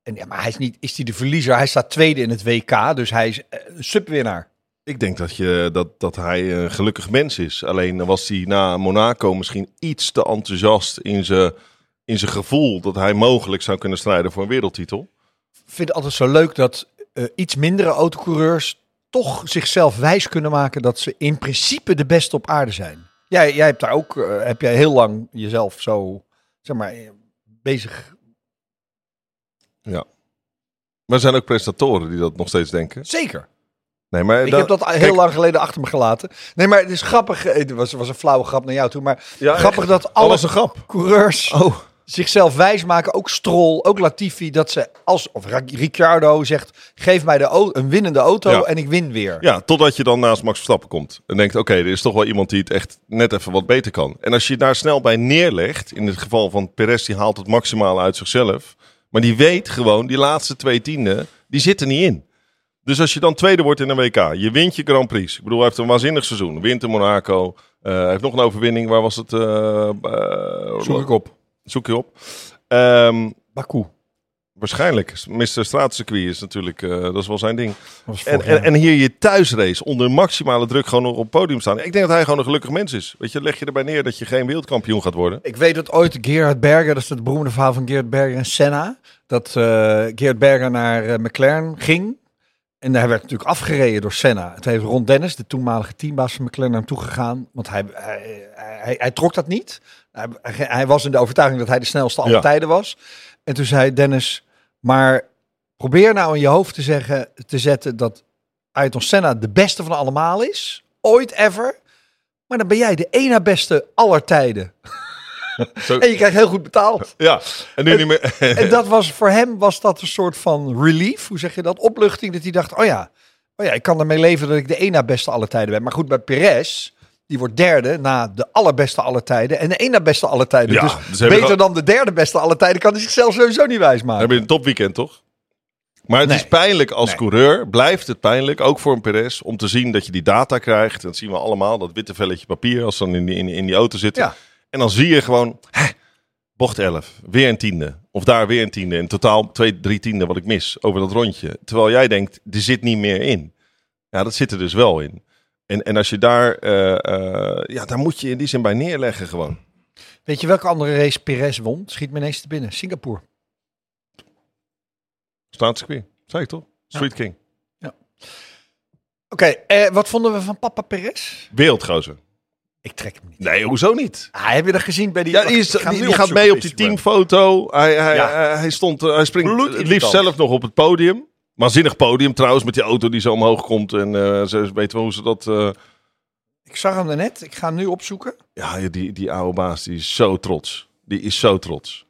Speaker 1: En ja, maar hij is niet, is hij de verliezer? Hij staat tweede in het WK, dus hij is eh, een subwinnaar.
Speaker 2: Ik denk dat, je, dat, dat hij een gelukkig mens is. Alleen was hij na Monaco misschien iets te enthousiast in zijn, in zijn gevoel dat hij mogelijk zou kunnen strijden voor een wereldtitel.
Speaker 1: Ik vind het altijd zo leuk dat eh, iets mindere autocoureurs toch zichzelf wijs kunnen maken dat ze in principe de beste op aarde zijn. Jij, jij hebt daar ook eh, heb jij heel lang jezelf zo zeg maar, eh, bezig.
Speaker 2: Maar er zijn ook presentatoren die dat nog steeds denken.
Speaker 1: Zeker.
Speaker 2: Nee, maar
Speaker 1: Ik
Speaker 2: da-
Speaker 1: heb dat al heel
Speaker 2: Eh, kijk,
Speaker 1: lang geleden achter me gelaten. Nee, maar het is grappig. eh, Het was, was een flauwe grap naar jou toe. Maar
Speaker 2: Ja,
Speaker 1: grappig dat alle
Speaker 2: Alles een grap. Oh.
Speaker 1: coureurs zichzelf wijs maken. Ook Stroll, ook Latifi. Dat ze als, of Ra- Ricciardo zegt, geef mij de au- een winnende auto
Speaker 2: Ja.
Speaker 1: en ik win weer.
Speaker 2: Ja, totdat je dan naast Max Verstappen komt. En denkt, oké, er is toch wel iemand die het echt net even wat beter kan. En als je daar snel bij neerlegt, in het geval van Perez, die haalt het maximale uit zichzelf. Maar die weet gewoon, die laatste twee tienden, die zitten niet in. Dus als je dan tweede wordt in een WK, je wint je Grand Prix. Ik bedoel, hij heeft een waanzinnig seizoen. Wint in Monaco, eh, hij heeft nog een overwinning. Waar was het? eh, eh,
Speaker 1: Zoek ik op.
Speaker 2: Zoek je op. Ehm,
Speaker 1: Baku.
Speaker 2: waarschijnlijk. Mr. Straatcircuit is natuurlijk, eh, dat is wel zijn ding.
Speaker 1: Dat was
Speaker 2: En,
Speaker 1: vorig jaar.
Speaker 2: en, en hier je thuisrace onder maximale druk gewoon nog op het podium staan. Ik denk dat hij gewoon een gelukkig mens is. Weet je, leg je erbij neer dat je geen wereldkampioen gaat worden.
Speaker 1: Ik weet dat ooit Gerhard Berger, dat is het beroemde verhaal van Gerhard Berger en Senna, dat eh Gerhard Berger naar eh, McLaren ging. En hij werd natuurlijk afgereden door Senna. Het heeft Ron Dennis, de toenmalige teambaas van McLaren, naar hem toe gegaan. Want hij, hij, hij, hij trok dat niet. Hij, hij- hij was in de overtuiging dat hij de snelste aller
Speaker 2: Ja.
Speaker 1: tijden was. En toen zei Dennis, maar probeer nou in je hoofd te, zeggen, te zetten dat Ayrton Senna de beste van allemaal is. Ooit ever. Maar dan ben jij de ene beste aller tijden.
Speaker 2: Zo-
Speaker 1: En je krijgt heel goed
Speaker 2: [LAUGHS]
Speaker 1: betaald.
Speaker 2: ja, en nu niet meer. [LAUGHS]
Speaker 1: En dat was voor hem was dat een soort van relief. Hoe zeg je dat? Opluchting. Dat hij dacht: oh ja, oh ja ik kan ermee leven dat ik de één na beste alle tijden ben. Maar goed, bij Perez, die wordt derde na de allerbeste alle tijden. En de één na beste alle tijden.
Speaker 2: Ja,
Speaker 1: dus
Speaker 2: dus hebben we-
Speaker 1: beter dan de derde beste alle tijden kan hij zichzelf sowieso niet wijs maken.
Speaker 2: Dan heb je een topweekend, toch? Maar het
Speaker 1: Nee.
Speaker 2: is pijnlijk als
Speaker 1: Nee.
Speaker 2: coureur, blijft het pijnlijk, ook voor een Perez, om te zien dat je die data krijgt. Dat zien we allemaal, dat witte velletje papier als ze dan in die, in, die- in die auto zitten.
Speaker 1: Ja.
Speaker 2: En dan zie je gewoon, hè, bocht 11, weer een tiende. Of daar weer een tiende. In totaal twee, drie tienden wat ik mis over dat rondje. Terwijl jij denkt, er zit niet meer in. Ja, dat zit er dus wel in. En, en als je daar, eh, eh, ja, daar moet je in die zin bij neerleggen gewoon.
Speaker 1: Weet je welke andere race Perez won? Schiet me ineens te binnen. Singapore.
Speaker 2: Staatscircuit, zei ik toch? Street King.
Speaker 1: Oké, eh, wat vonden we van Papa Perez?
Speaker 2: Wereldgozer.
Speaker 1: Ik trek hem niet.
Speaker 2: Nee, hoezo niet?
Speaker 1: Ah, heb je dat gezien bij die...
Speaker 2: Ja,
Speaker 1: Wacht,
Speaker 2: die, is,
Speaker 1: ik ga hem
Speaker 2: die,
Speaker 1: nu
Speaker 2: die gaat
Speaker 1: opzoeken
Speaker 2: mee op
Speaker 1: op
Speaker 2: die
Speaker 1: Instagram.
Speaker 2: teamfoto. Hij, hij,
Speaker 1: Ja.
Speaker 2: hij, hij stond, eh, hij springt het
Speaker 1: Bloedirritant.
Speaker 2: liefst zelf nog op het podium. Waanzinnig podium trouwens, met die auto die zo omhoog komt. En eh ze weten wel hoe ze dat... eh,
Speaker 1: Ik zag hem daarnet. Ik ga hem nu opzoeken.
Speaker 2: ja, die, die oude baas, die is zo trots. Die is zo trots.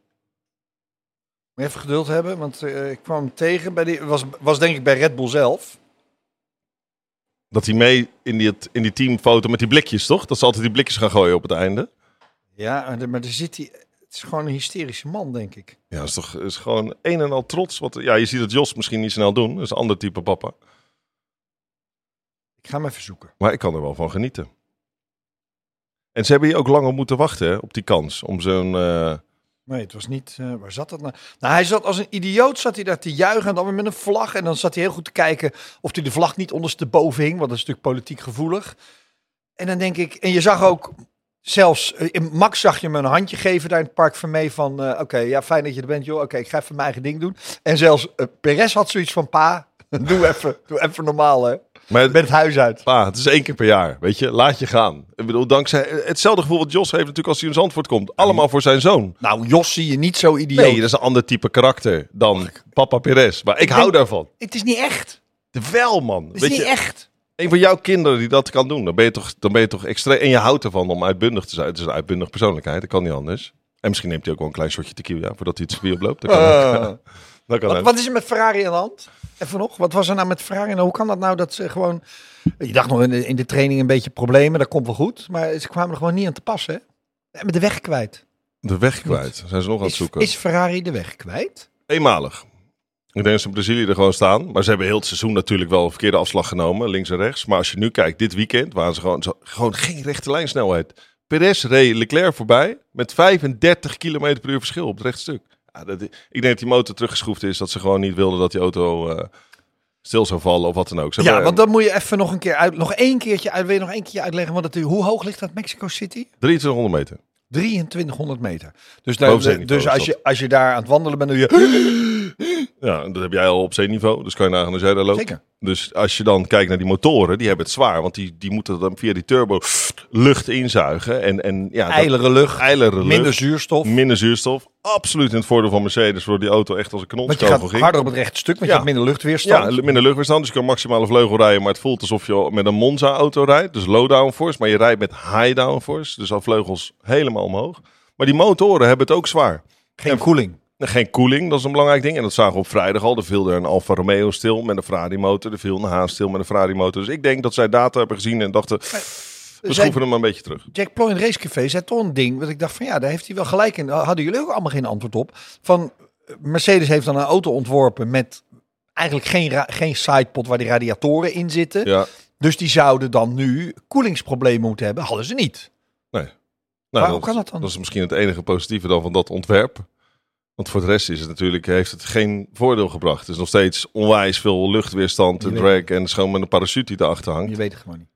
Speaker 1: Moet even geduld hebben, want eh, ik kwam hem tegen. Bij die, was, was denk ik bij Red Bull zelf.
Speaker 2: Dat hij mee in die, in die teamfoto met die blikjes, toch? Dat ze altijd die blikjes gaan gooien op het einde.
Speaker 1: Ja, maar, er- maar daar zit hij... Het is gewoon een hysterische man, denk ik.
Speaker 2: Ja, is toch is gewoon een en al trots. Wat, ja, je ziet dat Jos misschien niet snel doen. Dat is een ander type papa.
Speaker 1: Ik ga hem even zoeken.
Speaker 2: Maar ik kan er wel van genieten. En ze hebben hier ook lang op moeten wachten hè, op die kans. Om zo'n. eh,
Speaker 1: Nee, het was niet... eh, waar zat dat nou? Nou, hij zat als een idioot zat hij daar te juichen en dan weer met een vlag. En dan zat hij heel goed te kijken of hij de vlag niet ondersteboven hing. Want dat is natuurlijk politiek gevoelig. En dan denk ik... En je zag ook zelfs... eh, in Max zag je me een handje geven daar in het park van mee. Van eh, oké, ja, fijn dat je er bent joh. Oké, ik ga even mijn eigen ding doen. En zelfs eh, Perez had zoiets van... Pa, [LAUGHS] doe even, doe even normaal hè.
Speaker 2: maar
Speaker 1: Ik ben het huis uit.
Speaker 2: pa, het is één keer per jaar. Weet je, laat je gaan. Ik bedoel, dankzij. Hetzelfde gevoel wat Jos heeft natuurlijk als hij in Zandvoort komt. Allemaal voor zijn zoon.
Speaker 1: Nou, Jos zie je niet zo idioot.
Speaker 2: Nee, dat is een ander type karakter dan Papa Perez. Maar ik hou
Speaker 1: denk-
Speaker 2: daarvan.
Speaker 1: Het is niet echt.
Speaker 2: Wel, man.
Speaker 1: Het is
Speaker 2: Weet
Speaker 1: niet
Speaker 2: je,
Speaker 1: echt.
Speaker 2: een van jouw kinderen die dat kan doen, dan ben je toch, dan ben je toch extreem. En je houdt ervan om uitbundig te zijn. Het is een uitbundig persoonlijkheid, dat kan niet anders. En misschien neemt hij ook wel een klein shotje tequila voordat hij het circuit oploopt. Dat kan ook.
Speaker 1: Eh.
Speaker 2: Dat kan
Speaker 1: Wat,
Speaker 2: ook.
Speaker 1: wat is er met Ferrari aan de hand? Even nog, wat was er nou met Ferrari? Nou, hoe kan dat nou dat ze gewoon... Je dacht nog in de, in de training een beetje problemen, dat komt wel goed. Maar ze kwamen er gewoon niet aan te passen. Hè? Met de weg kwijt.
Speaker 2: De weg kwijt. Zijn ze nog aan het
Speaker 1: Is,
Speaker 2: zoeken.
Speaker 1: is Ferrari de weg kwijt?
Speaker 2: Eenmalig. Ik denk dat ze in Brazilië er gewoon staan. Maar ze hebben heel het seizoen natuurlijk wel een verkeerde afslag genomen. Links en rechts. Maar als je nu kijkt, dit weekend waren ze gewoon, zo- gewoon geen rechte lijnsnelheid. Perez reed Leclerc voorbij met 35 km per uur verschil op het rechtstuk. Ja, dat, ik denk dat die motor teruggeschroefd is. Dat ze gewoon niet wilden dat die auto eh, stil zou vallen of wat dan ook. Ze
Speaker 1: Ja,
Speaker 2: hebben, eh,
Speaker 1: want dan moet je even nog een keer uit, nog één keertje uit, wil je nog één keertje uitleggen. Want het, hoe hoog ligt dat Mexico City?
Speaker 2: eh, 2300 meter.
Speaker 1: 2300 meter. Dus,
Speaker 2: Boven
Speaker 1: daar,
Speaker 2: zeeniveau
Speaker 1: dus
Speaker 2: is
Speaker 1: als,
Speaker 2: dat.
Speaker 1: je, als je daar aan het wandelen bent, doe je...
Speaker 2: Ja, dat heb jij al op zeeniveau. Dus kan je nagaan als jij daar loopt.
Speaker 1: Zeker.
Speaker 2: Dus als je dan kijkt naar die motoren, die hebben het zwaar. Want die, die moeten dan via die turbo lucht inzuigen. En, en ja, dat-
Speaker 1: Eilere lucht,
Speaker 2: eilere lucht.
Speaker 1: minder zuurstof.
Speaker 2: Minder zuurstof. Absoluut in het voordeel van Mercedes, waardoor die auto echt als een
Speaker 1: Want je gaat
Speaker 2: knolskogel ging.
Speaker 1: harder op het rechte stuk, want
Speaker 2: Ja.
Speaker 1: je hebt minder
Speaker 2: Ja,
Speaker 1: luchtweerstand.
Speaker 2: minder luchtweerstand. Dus je kan maximale vleugel rijden. Maar het voelt alsof je met een Monza-auto rijdt. Dus low downforce. Maar je rijdt met high downforce. Dus al vleugels helemaal omhoog. Maar die motoren hebben het ook zwaar.
Speaker 1: Geen koeling.
Speaker 2: Nou, Geen koeling, dat is een belangrijk ding. En dat zagen we op vrijdag al. Er viel er een Alfa Romeo stil met een Ferrari motor. Er viel een Haas stil met een Ferrari motor. Dus ik denk dat zij data hebben gezien en dachten... We
Speaker 1: Zij-
Speaker 2: schroeven hem maar een beetje terug.
Speaker 1: Jack Ploy in het Racecafé zei toch een ding. Wat ik dacht van ja, daar heeft hij wel gelijk in. Hadden jullie ook allemaal geen antwoord op. Van eh, Mercedes heeft dan een auto ontworpen met eigenlijk geen, ra- geen sidepod waar die radiatoren in zitten.
Speaker 2: Ja, Nou,
Speaker 1: Dus die zouden dan nu koelingsproblemen moeten hebben. Hadden ze niet.
Speaker 2: nee. Nou,
Speaker 1: Waarom kan dat dan?
Speaker 2: Dat is misschien het enige positieve dan van dat ontwerp. Want voor de rest is het natuurlijk, heeft het geen voordeel gebracht. Het is nog steeds onwijs veel luchtweerstand, en
Speaker 1: Je
Speaker 2: drag en schoon met een parachute die erachter hangt.
Speaker 1: Je weet het gewoon niet.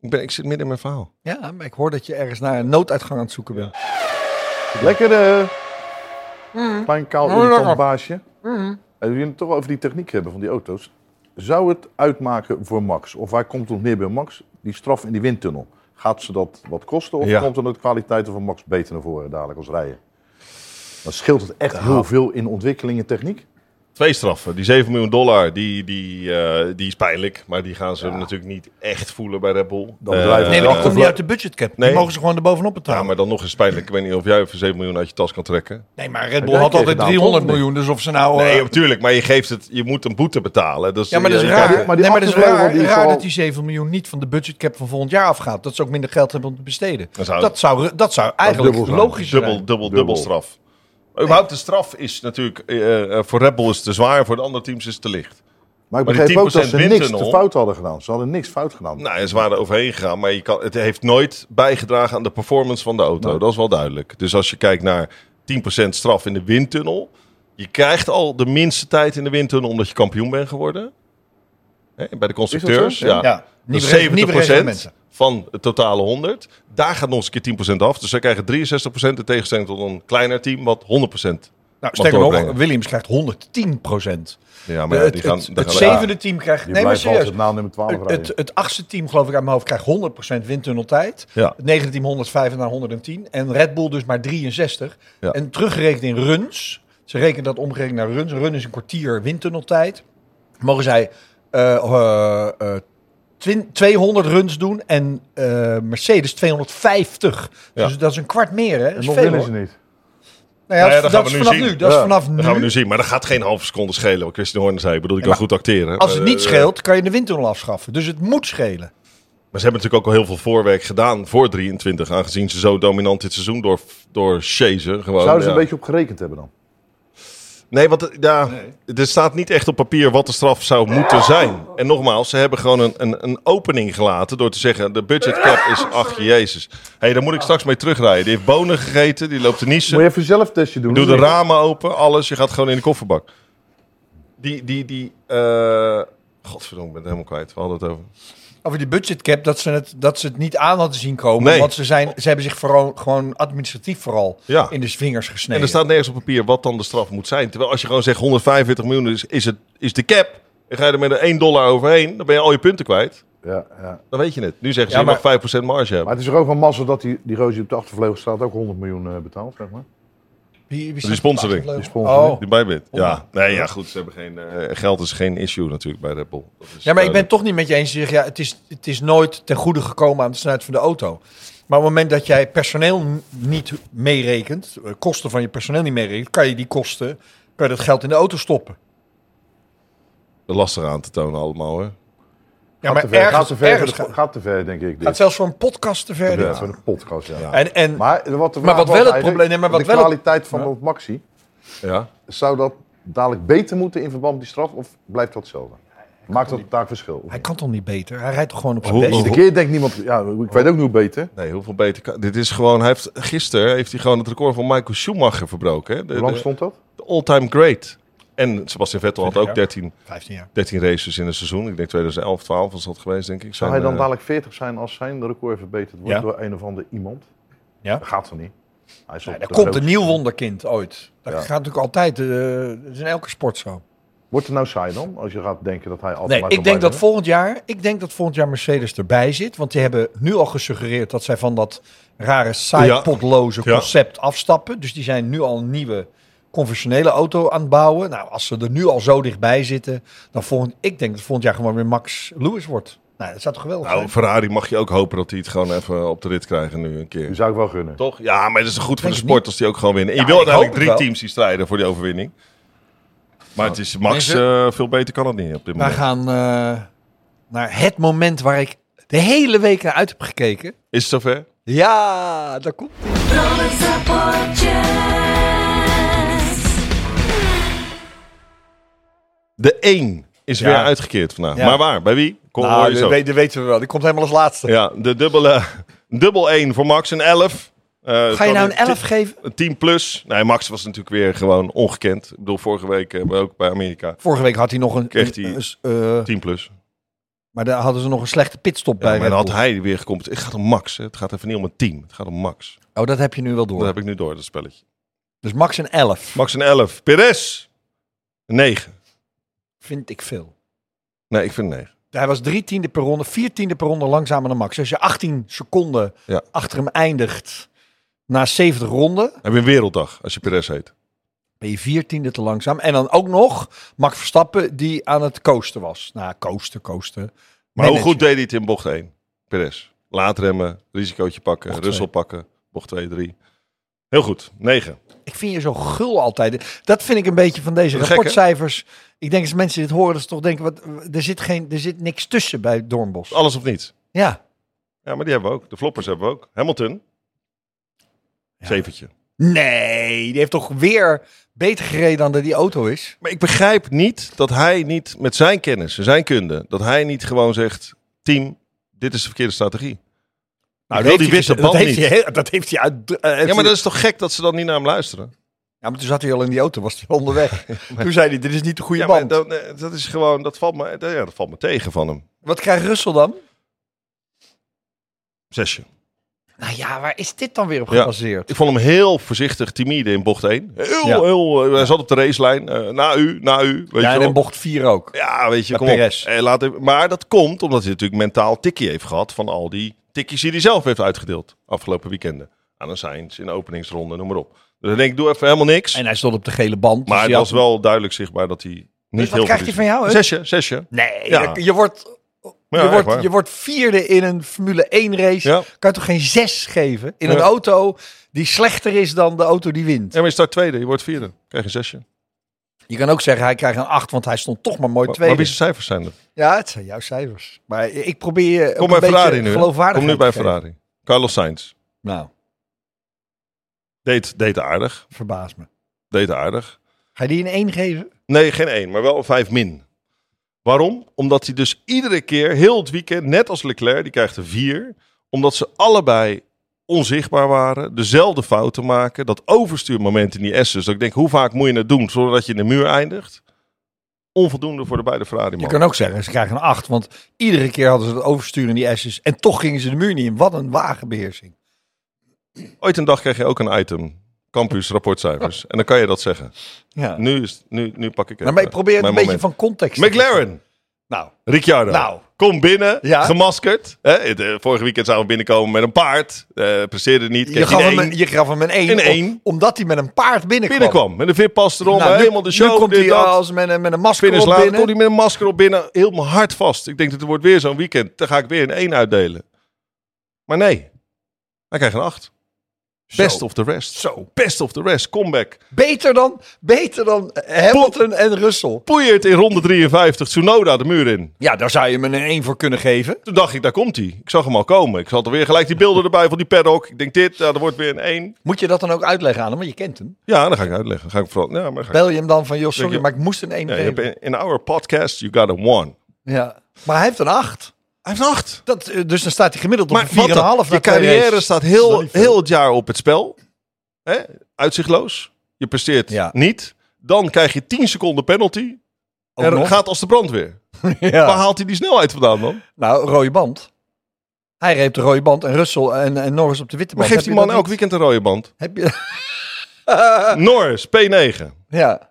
Speaker 2: Ik, ben, ik zit midden in mijn verhaal.
Speaker 1: Ja, maar ik hoor dat je ergens naar een nooduitgang aan het zoeken bent.
Speaker 3: Lekker eh. Klein kaal
Speaker 1: Oh, lekker.
Speaker 3: irritant baasje. En we het toch wel over die techniek hebben van die auto's. Zou het uitmaken voor Max? Of waar komt het neer bij Max? Die straf in die windtunnel. Gaat ze dat wat kosten? Of
Speaker 2: Ja.
Speaker 3: komt dan de kwaliteiten van Max beter naar voren dadelijk als rijden? Dan scheelt het echt heel veel in ontwikkeling en techniek.
Speaker 2: Twee straffen. Die 7 miljoen dollar, die, die, eh, die is pijnlijk. Maar die gaan ze natuurlijk niet echt voelen bij Red Bull.
Speaker 3: Dan blijven
Speaker 2: Eh,
Speaker 1: Nee, maar dat komt
Speaker 3: achtervla-
Speaker 1: niet uit de budgetcap.
Speaker 2: Nee.
Speaker 1: Die mogen ze gewoon erbovenop
Speaker 2: Ja,
Speaker 1: betalen.
Speaker 2: maar dan nog eens pijnlijk. Ik weet niet of jij voor 7 miljoen uit je tas kan trekken.
Speaker 1: Nee, maar Red Bull
Speaker 3: jij
Speaker 1: had
Speaker 3: kreeg
Speaker 1: altijd
Speaker 3: het nou,
Speaker 1: 300
Speaker 3: toch?
Speaker 1: miljoen. Dus of ze nou... eh,
Speaker 2: Nee, natuurlijk. Maar je, geeft het, je moet een boete betalen. Dus,
Speaker 1: Ja, maar dat is
Speaker 2: je-
Speaker 1: raar.
Speaker 2: je-
Speaker 3: maar die
Speaker 1: nee, maar dat is
Speaker 3: achtervleugel,
Speaker 1: raar,
Speaker 3: die is
Speaker 1: raar
Speaker 3: al-
Speaker 1: dat die 7 miljoen niet van de budgetcap van volgend jaar afgaat. Dat ze ook minder geld hebben om te besteden.
Speaker 2: Dan zou-
Speaker 1: dat, zou, dat zou eigenlijk
Speaker 3: dubbel zijn.
Speaker 1: logisch
Speaker 2: Dubbel,
Speaker 1: zijn.
Speaker 2: dubbel, dubbel, straf. Überhaupt de straf is natuurlijk... eh, eh, voor Red Bull is het te zwaar. Voor de andere teams is het te licht.
Speaker 3: Maar ik
Speaker 2: Maar die
Speaker 3: begreep ook dat
Speaker 2: 10%
Speaker 3: ze niks te
Speaker 2: windtunnel-
Speaker 3: fout hadden gedaan. Ze hadden niks fout gedaan.
Speaker 2: Nou, en ze waren er overheen gegaan. Maar je kan, het heeft nooit bijgedragen aan de performance van de auto. Dat is wel duidelijk. Dus als je kijkt naar 10% straf in de windtunnel... Je krijgt al de minste tijd in de windtunnel omdat je kampioen bent geworden. Hè, bij de constructeurs.
Speaker 3: Ja.
Speaker 1: Ja,
Speaker 2: Dat
Speaker 1: niet
Speaker 2: is
Speaker 1: berekenen- niet
Speaker 2: 70%
Speaker 1: berekenen mensen. van
Speaker 2: van het totale 100. Daar gaat nog eens een keer 10% af. Dus zij krijgen 63% in tegenstelling tot een kleiner team wat 100%
Speaker 1: Nou, sterker nog,
Speaker 2: doorbrengen.
Speaker 1: Williams krijgt 110 procent.
Speaker 2: Ja, maar ja,
Speaker 1: Eh, het
Speaker 2: die gaan,
Speaker 1: het,
Speaker 2: daar
Speaker 1: het
Speaker 2: gaan- ja,
Speaker 1: zevende team krijgt...
Speaker 3: Die
Speaker 1: Nee, maar
Speaker 3: blijft
Speaker 1: serieus.
Speaker 3: altijd na nummer 12
Speaker 1: Het,
Speaker 3: rijden.
Speaker 1: het, het achtste team, geloof ik, aan mijn hoofd krijgt 100% windtunneltijd.
Speaker 2: Ja.
Speaker 1: Het negende team 105 naar 110. En Red Bull dus maar 63.
Speaker 2: Ja.
Speaker 1: En teruggerekend in runs. Ze rekenen dat omgerekend naar runs. Een run is een kwartier windtunneltijd. Mogen zij eh, eh, eh, twin- 200 runs doen en eh, Mercedes 250.
Speaker 2: Ja.
Speaker 1: Dus dat is een kwart meer, hè? Dat
Speaker 3: En
Speaker 1: is
Speaker 3: nog
Speaker 1: veel,
Speaker 3: winnen
Speaker 1: hoor.
Speaker 3: ze niet.
Speaker 1: Nou ja,
Speaker 2: Nou ja, dat
Speaker 1: dat
Speaker 2: gaan
Speaker 1: is
Speaker 2: we nu
Speaker 1: vanaf
Speaker 2: zien.
Speaker 1: nu. Dat is
Speaker 3: Ja,
Speaker 1: vanaf
Speaker 2: Dat gaan we
Speaker 1: nu.
Speaker 2: nu zien. Maar dat gaat geen halve seconde schelen. Wat Christian Horner zei. Ik bedoel, die kan
Speaker 1: maar
Speaker 2: goed acteren.
Speaker 1: Als het
Speaker 2: maar,
Speaker 1: niet
Speaker 2: eh,
Speaker 1: scheelt, kan je de windtunnel afschaffen. Dus het moet schelen.
Speaker 2: Maar ze hebben natuurlijk ook al heel veel voorwerk gedaan voor 23. Aangezien ze zo dominant dit seizoen door, door chasen.
Speaker 1: Oh,
Speaker 2: Gewoon,
Speaker 3: Zouden ze
Speaker 2: ja.
Speaker 3: een beetje op gerekend hebben dan?
Speaker 2: Nee, want eh, ja, er staat niet echt op papier wat de straf zou moeten zijn. En nogmaals, ze hebben gewoon een, een, een opening gelaten door te zeggen... de budget cap is, ach jezus. Hé, hey, daar moet ik straks mee terugrijden. Die heeft bonen gegeten, die loopt te niezen.
Speaker 3: Moet je even een zelftestje doen?
Speaker 2: Doe de
Speaker 3: of niet?
Speaker 2: ramen open, alles. Je gaat gewoon in de kofferbak. Die, die, die... eh, Godverdomme, ik ben het helemaal kwijt. We hadden het over...
Speaker 1: Over die budgetcap, dat ze het, dat ze het niet aan hadden zien komen.
Speaker 2: Nee.
Speaker 1: Want ze, zijn, ze hebben zich vooral, gewoon administratief vooral
Speaker 2: Ja.
Speaker 1: in de vingers gesneden.
Speaker 2: En er staat nergens op papier wat dan de straf moet zijn. Terwijl als je gewoon zegt 145 miljoen is, is, het, is de cap... en ga je er met een 1 dollar overheen... dan ben je al je punten kwijt.
Speaker 3: Ja, ja.
Speaker 2: Dan weet je het. Nu zeggen ze,
Speaker 1: Ja,
Speaker 2: je mag 5% marge hebben.
Speaker 3: Maar het is er ook van massa dat die, die roze die op de achtervleugel staat ook 100 miljoen eh, betaalt, zeg maar.
Speaker 1: Wie- wie staat
Speaker 2: Die sponsoring.
Speaker 1: er?
Speaker 3: Die sponsoring.
Speaker 1: Oh.
Speaker 2: Die bijbit. Ja,
Speaker 1: Ja.
Speaker 2: nee, ja, goed. Ze hebben geen, eh, geld is geen issue natuurlijk bij Red Bull. Dat is eh,
Speaker 1: Ja, maar ik ben
Speaker 2: duidelijk.
Speaker 1: het toch niet met je eens. Je zegt, ja, het, is, het is nooit ten goede gekomen aan de snelheid van de auto. Maar op het moment dat jij personeel n- niet meerekent, eh, kosten van je personeel niet meerekent, kan je die kosten, kan je dat geld in de auto stoppen.
Speaker 2: lastig aan te tonen allemaal, hè?
Speaker 1: Ja,
Speaker 3: gaat,
Speaker 1: maar
Speaker 3: te ver, gaat,
Speaker 1: ergens,
Speaker 3: te ver,
Speaker 1: ergens
Speaker 3: voor de-
Speaker 1: gaat,
Speaker 3: gaat te ver, denk ik. Dit.
Speaker 1: gaat zelfs voor een podcast te ver.
Speaker 3: Ja,
Speaker 1: dit.
Speaker 3: voor een podcast, ja.
Speaker 1: En, en
Speaker 3: Maar eh, wat, de
Speaker 1: Maar wat wel
Speaker 3: vraag was
Speaker 1: het
Speaker 3: eigenlijk,
Speaker 1: probleem- nee, maar wat
Speaker 3: de
Speaker 1: wel het-
Speaker 3: kwaliteit van
Speaker 1: Ja.
Speaker 3: dat maxi,
Speaker 2: Ja.
Speaker 3: zou dat dadelijk beter moeten in verband met die straf of blijft dat hetzelfde? Maakt dat daar verschil? of
Speaker 1: hij
Speaker 3: niet?
Speaker 1: kan toch niet beter? Hij rijdt toch gewoon op zijn
Speaker 2: Hoe-
Speaker 1: best?
Speaker 2: hoe-
Speaker 3: Iedere keer denkt niemand, ja, ik weet ook niet hoe beter.
Speaker 2: Nee, hoeveel beter kan... Dit is gewoon... Hij heeft, gisteren heeft hij gewoon het record van Michael Schumacher verbroken, hè? De,
Speaker 3: Hoe lang
Speaker 2: de-
Speaker 3: stond dat?
Speaker 2: de all-time great. En Sebastian Vettel had
Speaker 1: 20
Speaker 2: ook
Speaker 1: jaar.
Speaker 2: 13,
Speaker 1: 15 jaar.
Speaker 2: 13 races in een seizoen. Ik denk 2011, 12 was dat geweest, denk ik.
Speaker 3: Zou
Speaker 2: Zijn,
Speaker 3: hij dan
Speaker 2: eh,
Speaker 3: dadelijk 40 zijn als zijn record verbeterd wordt
Speaker 1: Ja.
Speaker 3: door een of ander iemand?
Speaker 1: Ja.
Speaker 3: Dat gaat toch niet? Hij is
Speaker 1: Ja,
Speaker 3: op
Speaker 1: er
Speaker 3: de
Speaker 1: komt
Speaker 3: grootste.
Speaker 1: een nieuw wonderkind ooit. Dat
Speaker 3: Ja.
Speaker 1: gaat natuurlijk altijd. eh, dat is in elke sport zo.
Speaker 3: Wordt het nou saai dan, als je gaat denken dat hij altijd
Speaker 1: Nee,
Speaker 3: maar
Speaker 1: ik
Speaker 3: kan
Speaker 1: denk, dat
Speaker 3: blijven?
Speaker 1: volgend jaar, ik denk dat volgend jaar Mercedes erbij zit. Want die hebben nu al gesuggereerd dat zij van dat rare sidepodloze
Speaker 2: Ja.
Speaker 1: concept afstappen. Dus die zijn nu al een nieuwe conventionele auto aan het bouwen. Nou, als ze er nu al zo dichtbij zitten, dan volgend, ik denk dat volgend jaar gewoon weer Max Lewis wordt. Nou, dat zou toch geweldig
Speaker 2: Nou,
Speaker 1: zijn?
Speaker 2: Ferrari mag je ook hopen dat hij het gewoon even op de rit krijgen nu een keer.
Speaker 3: Die zou ik wel gunnen.
Speaker 2: Toch? Ja, maar dat is goed voor
Speaker 1: Denk
Speaker 2: de
Speaker 1: ik
Speaker 2: sport als die ook gewoon winnen. En je
Speaker 1: Ja,
Speaker 2: wil
Speaker 1: ik hoop
Speaker 2: uiteindelijk drie
Speaker 1: het wel.
Speaker 2: teams die strijden voor die overwinning. Maar het is Max,
Speaker 1: Mensen-
Speaker 2: eh, veel beter kan het niet op dit
Speaker 1: Wij
Speaker 2: moment.
Speaker 1: gaan eh, naar het moment waar ik de hele week naar uit heb gekeken.
Speaker 2: Is het zover?
Speaker 1: Ja, daar komt ie.
Speaker 4: Rolling supporters.
Speaker 2: De 1 is
Speaker 1: Ja.
Speaker 2: weer uitgekeerd vandaag.
Speaker 1: Ja.
Speaker 2: Maar waar? Bij wie? Kom, hoor je
Speaker 1: Nou,
Speaker 2: zo.
Speaker 1: dat, weet- dat weten we wel. Die komt helemaal als laatste.
Speaker 2: Ah, Ja, de dubbele, dubbel 1 voor Max, een 11. Eh,
Speaker 1: Ga je
Speaker 2: kan
Speaker 1: nou een
Speaker 2: hij-
Speaker 1: 11 geven?
Speaker 2: Een 10 plus. Nee, Max was natuurlijk weer gewoon ongekend. Ik bedoel, vorige week eh, ook bij Amerika.
Speaker 1: Vorige week had hij nog een.
Speaker 2: Kreeg
Speaker 1: een-
Speaker 2: hij-
Speaker 1: een- eh,
Speaker 2: 10 plus.
Speaker 1: maar daar hadden ze nog een slechte pitstop
Speaker 2: Ja,
Speaker 1: bij.
Speaker 2: maar
Speaker 1: Red
Speaker 2: dan had
Speaker 1: Bull.
Speaker 2: hij weer gekomen. Het gaat om Max. hè. Het gaat even niet om een team. Het gaat om Max.
Speaker 1: Oh, dat heb je nu wel door.
Speaker 2: Dat heb ik nu door, dat spelletje.
Speaker 1: Dus Max een 11.
Speaker 2: Max een 11. Perez. Een 9.
Speaker 1: Vind ik veel.
Speaker 2: Nee, ik vind een 9.
Speaker 1: Hij was drie tiende per ronde, vier tiende per ronde langzamer dan Max. Dus Als je 18 seconden
Speaker 2: Ja.
Speaker 1: achter hem eindigt na 70 ronden,
Speaker 2: Heb je een werelddag als je Perez heet?
Speaker 1: ben je viertiende te langzaam. En dan ook nog Max Verstappen die aan het coasten was. Nou, coasten, coasten.
Speaker 2: Maar
Speaker 1: Managen.
Speaker 2: hoe goed deed hij het in bocht 1? Perez. Laat remmen, risicootje pakken,
Speaker 1: Bocht
Speaker 2: Russel pakken. Bocht 2, 3. Heel goed. 9.
Speaker 1: Ik vind je zo gul altijd. Dat vind ik een beetje van deze
Speaker 2: Gek, hè?
Speaker 1: rapportcijfers. Ik denk als mensen dit horen, dat ze toch denken, wat, er, zit geen, er zit niks tussen bij Doornbos.
Speaker 2: Alles of niets.
Speaker 1: Ja.
Speaker 2: Ja, maar die hebben we ook. De floppers hebben we ook. Hamilton. Zeventje.
Speaker 1: Nee, die heeft toch weer beter gereden dan dat die auto is.
Speaker 2: Maar ik begrijp niet dat hij niet met zijn kennis en zijn kunde, dat hij niet gewoon zegt, team, dit is de verkeerde strategie. Nou, wil die witte band
Speaker 1: dat heeft
Speaker 2: niet.
Speaker 1: Hij, [LAUGHS] heel- dat heeft hij uit... eh, heeft
Speaker 2: Ja, maar
Speaker 1: hij-
Speaker 2: dat is toch gek dat ze dan niet naar hem luisteren?
Speaker 1: ja, maar toen zat hij al in die auto, was hij
Speaker 2: [LAUGHS]
Speaker 1: onderweg. Toen zei hij, dit is niet de goede
Speaker 2: Ja, maar
Speaker 1: band.
Speaker 2: dan, eh, dat is gewoon, dat valt, me, eh, ja, dat valt me tegen van hem.
Speaker 1: Wat krijgt Russell dan?
Speaker 2: Zesje.
Speaker 1: Nou ja, waar is dit dan weer op
Speaker 2: Ja.
Speaker 1: gebaseerd?
Speaker 2: Ik vond hem heel voorzichtig, timide in bocht 1. Heel,
Speaker 1: Ja.
Speaker 2: heel... eh, Hij zat op de racelijn. eh, na u, na u. Weet
Speaker 1: Ja,
Speaker 2: je
Speaker 1: en
Speaker 2: wel.
Speaker 1: in bocht 4 ook.
Speaker 2: Ja, weet je,
Speaker 1: Bij
Speaker 2: kom op.
Speaker 1: Perez.
Speaker 2: Eh, laat even- maar dat komt omdat hij natuurlijk mentaal tikkie heeft gehad van al die tikkies die hij zelf heeft uitgedeeld afgelopen weekenden. Aan een Sainz, in de openingsronde, noem maar op. Dus dan denk ik, doe even helemaal niks.
Speaker 1: En hij stond op de gele band.
Speaker 2: maar
Speaker 1: dus
Speaker 2: het
Speaker 1: ja,
Speaker 2: was wel duidelijk zichtbaar dat hij niet
Speaker 1: Dus wat
Speaker 2: heel
Speaker 1: krijgt
Speaker 2: veel
Speaker 1: hij van jou, hè?
Speaker 2: Zesje, zesje.
Speaker 1: Nee,
Speaker 2: Ja.
Speaker 1: je, je wordt,
Speaker 2: Ja,
Speaker 1: je,
Speaker 2: echt
Speaker 1: wordt,
Speaker 2: waar.
Speaker 1: je wordt vierde in een Formule 1 race.
Speaker 2: Ja.
Speaker 1: Kan je toch geen zes geven in
Speaker 2: Ja.
Speaker 1: een auto die slechter is dan de auto die wint?
Speaker 2: Ja, maar je start tweede, je wordt vierde. Krijg je zesje.
Speaker 1: Je kan ook zeggen, hij krijgt een acht, want hij stond toch maar mooi
Speaker 2: Maar,
Speaker 1: tweede.
Speaker 2: maar wie zijn cijfers zijn er?
Speaker 1: Ja, het zijn jouw cijfers. Maar ik probeer je
Speaker 2: Kom
Speaker 1: ook
Speaker 2: bij
Speaker 1: een
Speaker 2: Ferrari
Speaker 1: beetje
Speaker 2: nu. hè? Kom
Speaker 1: geloofwaardigheid
Speaker 2: nu bij
Speaker 1: te geven.
Speaker 2: Ferrari. Carlos Sainz.
Speaker 1: Nou,
Speaker 2: Deed, deed aardig.
Speaker 1: verbaas me.
Speaker 2: Deed aardig.
Speaker 1: Ga je die een één geven?
Speaker 2: Nee, geen één, maar wel een vijf min. Waarom? Omdat hij dus iedere keer, heel het weekend, net als Leclerc, die krijgt er vier. Omdat ze allebei onzichtbaar waren, dezelfde fouten maken. Dat overstuurmoment in die S's. Dat ik denk, hoe vaak moet je het doen zodat je in de muur eindigt? Onvoldoende voor de beide ferrari
Speaker 1: Je kan ook zeggen, ze krijgen een 8. Want iedere keer hadden ze het oversturen in die S's. En toch gingen ze de muur niet in. Wat een wagenbeheersing.
Speaker 2: Ooit een dag krijg je ook een item.
Speaker 1: [LAUGHS]
Speaker 2: Campus rapportcijfers. En dan kan je dat zeggen.
Speaker 1: Ja.
Speaker 2: Nu, is, nu, nu pak ik het.
Speaker 1: Nou, maar ik probeer het een beetje van context te
Speaker 2: McLaren.
Speaker 1: Nou,
Speaker 2: Ricciardo,
Speaker 1: Nou.
Speaker 2: kom binnen,
Speaker 1: Ja.
Speaker 2: gemaskerd. Hè? Het, eh, vorige weekend zouden we binnenkomen met een paard. Eh presteerde niet,
Speaker 1: je
Speaker 2: kreeg
Speaker 1: gaf,
Speaker 2: je
Speaker 1: hem een, je gaf hem een 1.
Speaker 2: Een één.
Speaker 1: Omdat hij met een paard binnenkwam.
Speaker 2: binnenkwam. Met een VIP-pas erom,
Speaker 1: Nou, nu-
Speaker 2: helemaal de show.
Speaker 1: Nu komt
Speaker 2: dit,
Speaker 1: hij
Speaker 2: dat.
Speaker 1: als met een, met een masker
Speaker 2: Finish
Speaker 1: op
Speaker 2: later, kon
Speaker 1: binnen.
Speaker 2: hij met een masker op binnen. Helemaal hard vast. Ik denk, dit wordt weer zo'n weekend. Dan ga ik weer een 1 uitdelen. Maar nee, hij krijgt een 8. Best of the rest. Zo. Best of the rest. Comeback.
Speaker 1: Beter dan, beter dan Hamilton en Russell.
Speaker 2: Poeiert in ronde 53. Tsunoda de muur in.
Speaker 1: Ja, daar zou je hem een 1 voor kunnen geven.
Speaker 2: Toen dacht ik, daar komt hij. Ik zag hem al komen. Ik zat er weer gelijk die beelden erbij van die paddock. Ik denk, dit, ja, er wordt weer een 1.
Speaker 1: Moet je dat dan ook uitleggen aan hem? Want je kent hem.
Speaker 2: Ja, dan ga ik uitleggen. Ga ik vooral, ja, maar dan ga ik-
Speaker 1: Bel je hem dan van, joh, sorry,
Speaker 2: je-
Speaker 1: maar ik moest een 1
Speaker 2: Ja, je
Speaker 1: geven.
Speaker 2: hebt in- in our podcast, you got a one.
Speaker 1: Ja. Maar hij heeft een 8.
Speaker 2: Hij heeft een acht.
Speaker 1: Dat, eh, dus dan staat hij gemiddeld op
Speaker 2: Maar
Speaker 1: een 4,5.
Speaker 2: wat dan?
Speaker 1: na
Speaker 2: je
Speaker 1: twee
Speaker 2: carrière
Speaker 1: races.
Speaker 2: staat
Speaker 1: Dat is
Speaker 2: heel,
Speaker 1: niet veel.
Speaker 2: heel het jaar op het spel. Hè? Uitzichtloos. Je presteert
Speaker 1: Ja.
Speaker 2: niet. Dan krijg je 10 seconden penalty.
Speaker 1: Ook
Speaker 2: en
Speaker 1: nog?
Speaker 2: gaat als de brandweer.
Speaker 1: [LAUGHS] Ja.
Speaker 2: Waar haalt hij die snelheid vandaan dan?
Speaker 1: Nou, rode band. Hij reep de rode band en Russell en, en Norris op de witte
Speaker 2: Maar
Speaker 1: band.
Speaker 2: geeft die
Speaker 1: Heb
Speaker 2: man
Speaker 1: je dat
Speaker 2: elk weekend een rode band?
Speaker 1: niet? Heb je...
Speaker 2: Norris, P9.
Speaker 1: [LAUGHS] ja.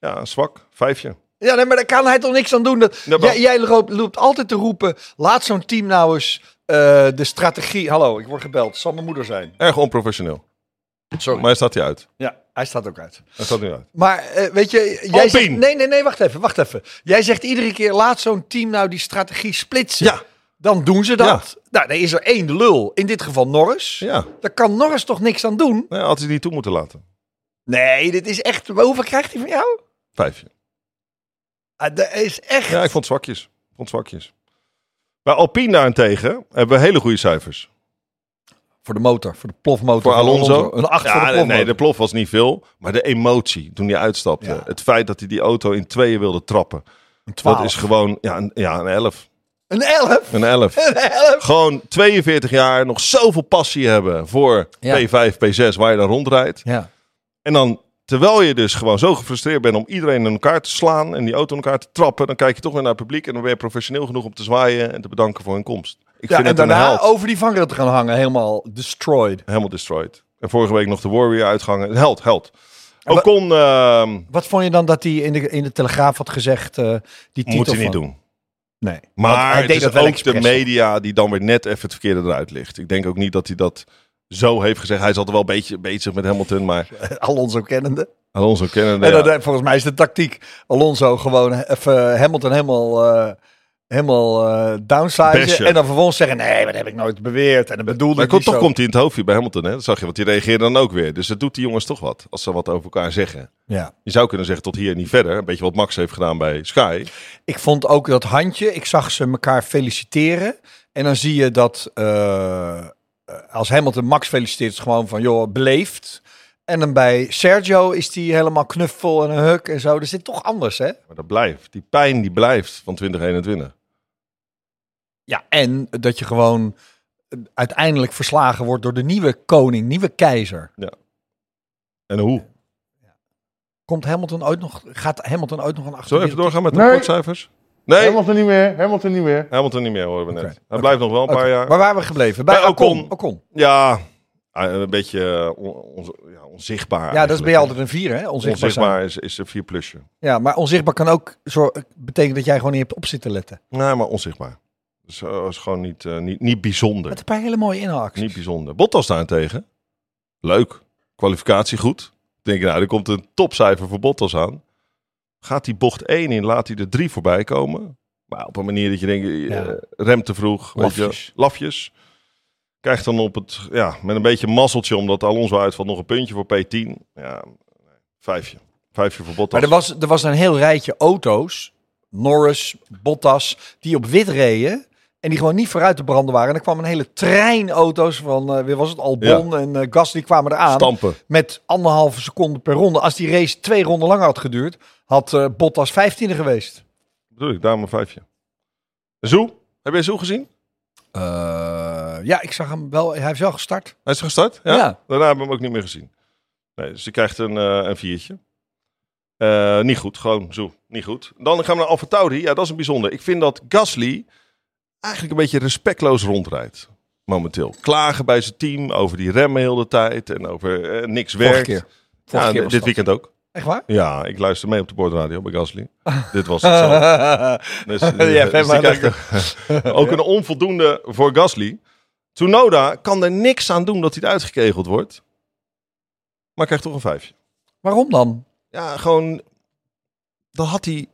Speaker 2: Ja, zwak. Vijfje.
Speaker 1: Ja, nee, maar daar kan hij toch niks aan doen. Dat,
Speaker 2: Ja, maar-
Speaker 1: jij, jij loopt, loopt altijd te roepen, laat zo'n team nou eens eh, de strategie... Hallo, ik word gebeld. Zal mijn moeder zijn.
Speaker 2: Erg onprofessioneel.
Speaker 1: Sorry.
Speaker 2: Maar hij staat hij uit.
Speaker 1: Ja, hij staat ook uit.
Speaker 2: Hij staat nu uit.
Speaker 1: Maar eh, weet je, jij
Speaker 2: Alpine.
Speaker 1: zegt, nee, nee, nee, wacht even, wacht even. Jij zegt iedere keer, laat zo'n team nou die strategie splitsen.
Speaker 2: Ja.
Speaker 1: Dan doen ze dat. Nou, dan is er één de lul. In dit geval Norris.
Speaker 2: Ja.
Speaker 1: Daar kan Norris toch niks aan doen?
Speaker 2: Nee, had hij die toe moeten laten.
Speaker 1: Nee, dit is echt... maar Hoeveel krijgt hij van jou?
Speaker 2: Vijfje.
Speaker 1: Ah, dat is echt...
Speaker 2: Ja, ik vond het zwakjes. Ik vond het zwakjes. Bij Alpine daarentegen hebben we hele goede cijfers.
Speaker 1: Voor de motor, voor de plofmotor.
Speaker 2: Voor
Speaker 1: van
Speaker 2: Alonso.
Speaker 1: Een 8
Speaker 2: ja,
Speaker 1: voor de plofmotor.
Speaker 2: Nee, de plof was niet veel. Maar de emotie toen hij uitstapte.
Speaker 1: Ja.
Speaker 2: Het feit dat hij die auto in tweeën wilde trappen.
Speaker 1: een 12.
Speaker 2: Dat is gewoon ja, een, ja, een 11.
Speaker 1: Een 11.
Speaker 2: Een
Speaker 1: [LAUGHS]
Speaker 2: 11.
Speaker 1: Een 11.
Speaker 2: gewoon 42 jaar, nog zoveel passie hebben voor
Speaker 1: Ja.
Speaker 2: P5, P6, waar je dan rondrijdt.
Speaker 1: Ja.
Speaker 2: En dan, terwijl je dus gewoon zo gefrustreerd bent om iedereen in elkaar te slaan en die auto in elkaar te trappen, dan kijk je toch weer naar het publiek en dan ben je professioneel genoeg om te zwaaien en te bedanken voor hun komst. Ik
Speaker 1: ja
Speaker 2: vind
Speaker 1: en
Speaker 2: het een
Speaker 1: daarna
Speaker 2: held.
Speaker 1: over die vangrail te gaan hangen. Helemaal destroyed.
Speaker 2: Helemaal destroyed. En vorige week nog de Warrior uitgangen. Een Held, held.
Speaker 1: En wa-
Speaker 2: Ocon ehm
Speaker 1: Wat vond je dan dat hij in de, in de Telegraaf had gezegd... eh, die titel
Speaker 2: moet hij niet
Speaker 1: van-
Speaker 2: doen.
Speaker 1: Nee.
Speaker 2: Maar
Speaker 1: Want
Speaker 2: hij deed het is
Speaker 1: wel
Speaker 2: ook de
Speaker 1: expres.
Speaker 2: media die dan weer net even het verkeerde eruit ligt. Ik denk ook niet dat hij dat zo heeft gezegd. Hij zat er wel een beetje bezig met Hamilton,
Speaker 1: [LAUGHS]
Speaker 2: maar
Speaker 1: Alonso kennende.
Speaker 2: Alonso kennen
Speaker 1: En dan, eh, volgens mij is de tactiek Alonso gewoon even Hamilton helemaal, eh helemaal eh downsizen.
Speaker 2: Bashen.
Speaker 1: En dan vervolgens zeggen, nee, dat heb ik nooit beweerd. En dat bedoelde
Speaker 2: Maar
Speaker 1: ik
Speaker 2: kon,
Speaker 1: niet
Speaker 2: toch
Speaker 1: zo.
Speaker 2: komt hij in het hoofdje bij Hamilton, hè? Dat zag je, want die reageerde dan ook weer. Dus dat doet die jongens toch wat, als ze wat over elkaar zeggen.
Speaker 1: Ja.
Speaker 2: Je zou kunnen zeggen tot hier en niet verder. Een beetje wat Max heeft gedaan bij Sky.
Speaker 1: Ik vond ook dat handje, ik zag ze elkaar feliciteren. En dan zie je dat eh, als Hamilton Max feliciteert, is het gewoon van joh, beleefd. En dan bij Sergio is die helemaal knuffel en een huk en zo. Dus dit toch anders, hè?
Speaker 2: Maar dat blijft. Die pijn die blijft van 2021.
Speaker 1: Ja, en dat je gewoon eh, uiteindelijk verslagen wordt door de nieuwe koning, nieuwe keizer.
Speaker 2: En hoe?
Speaker 1: Komt Hamilton ooit nog, gaat Hamilton ooit nog een achter?
Speaker 2: Zullen we even doorgaan met de
Speaker 3: Nee.
Speaker 2: rapportcijfers? Nee,
Speaker 3: Hamilton niet meer, Hamilton niet meer.
Speaker 2: Hamilton niet meer horen we net.
Speaker 1: Oké.
Speaker 2: Hij blijft nog wel een paar jaar.
Speaker 1: Waar waren we gebleven? Bij,
Speaker 2: Bij
Speaker 1: Ocon.
Speaker 2: Ocon.
Speaker 1: Ocon.
Speaker 2: Ja, eh, een beetje eh, on- on- ja, onzichtbaar.
Speaker 1: Ja, dat is bij
Speaker 2: eigenlijk.
Speaker 1: jou altijd een vier, hè? Onzichtbaar, zijn.
Speaker 2: Onzichtbaar is, is een 4 plusje.
Speaker 1: Ja, maar onzichtbaar kan ook zo, betekenen dat jij gewoon niet hebt op zitten letten.
Speaker 2: Nee, maar onzichtbaar. Dus eh, is gewoon niet, eh, niet, niet bijzonder.
Speaker 1: Met een paar hele mooie inhaaks.
Speaker 2: Niet bijzonder. Bottas daarentegen. Leuk. Kwalificatie goed. Denk je, nou, er komt een topcijfer voor Bottas aan. Gaat die bocht 1 in, laat hij er 3 voorbij komen. Maar op een manier dat je denkt, eh,
Speaker 1: Ja.
Speaker 2: rem te vroeg. weet je.
Speaker 1: Lafjes.
Speaker 2: Lafjes. Krijgt dan op het, ja, met een beetje mazzeltje, omdat Alonso uitvalt, nog een puntje voor P10. Ja, nee, vijfje. Vijfje voor Bottas.
Speaker 1: Maar er was, er was een heel rijtje auto's, Norris, Bottas, die op wit reden. En die gewoon niet vooruit te branden waren. En er kwam een hele trein auto's van, eh, weer was het Albon en eh Gas, die kwamen eraan.
Speaker 2: Stampen.
Speaker 1: Met anderhalve seconde per ronde. Als die race twee ronden langer had geduurd, had eh, Bottas vijftiende geweest.
Speaker 2: Bedoel ik, daarom een vijfje. Zoe, heb jij Zoe gezien?
Speaker 1: Eh, ja, ik zag hem wel. Hij heeft wel gestart.
Speaker 2: Hij is gestart? Ja.
Speaker 1: Ja.
Speaker 2: Daarna hebben we hem ook niet meer gezien. Nee, dus je krijgt een, eh, een viertje. Eh, niet goed, gewoon zo. Niet goed. Dan gaan we naar AlphaTauri. Ja, dat is een bijzonder. Ik vind dat Gasly eigenlijk een beetje respectloos rondrijdt. Momenteel. Klagen bij zijn team over die remmen heel de tijd. En over eh, niks werkt.
Speaker 1: keer.
Speaker 2: Ja,
Speaker 1: Vorige keer was
Speaker 2: dit
Speaker 1: dat.
Speaker 2: weekend ook.
Speaker 1: Echt waar?
Speaker 2: Ja, ik luister mee op de bordradio bij Gasly.
Speaker 1: [LAUGHS]
Speaker 2: dit was hetzelfde. eh, Dus, dus die
Speaker 1: helemaal
Speaker 2: krijgt ook- ook een onvoldoende voor Gasly. Tsunoda kan er niks aan doen dat hij eruit gekegeld wordt. Maar krijgt toch een vijfje.
Speaker 1: Waarom dan?
Speaker 2: Ja, gewoon... Dan had hij...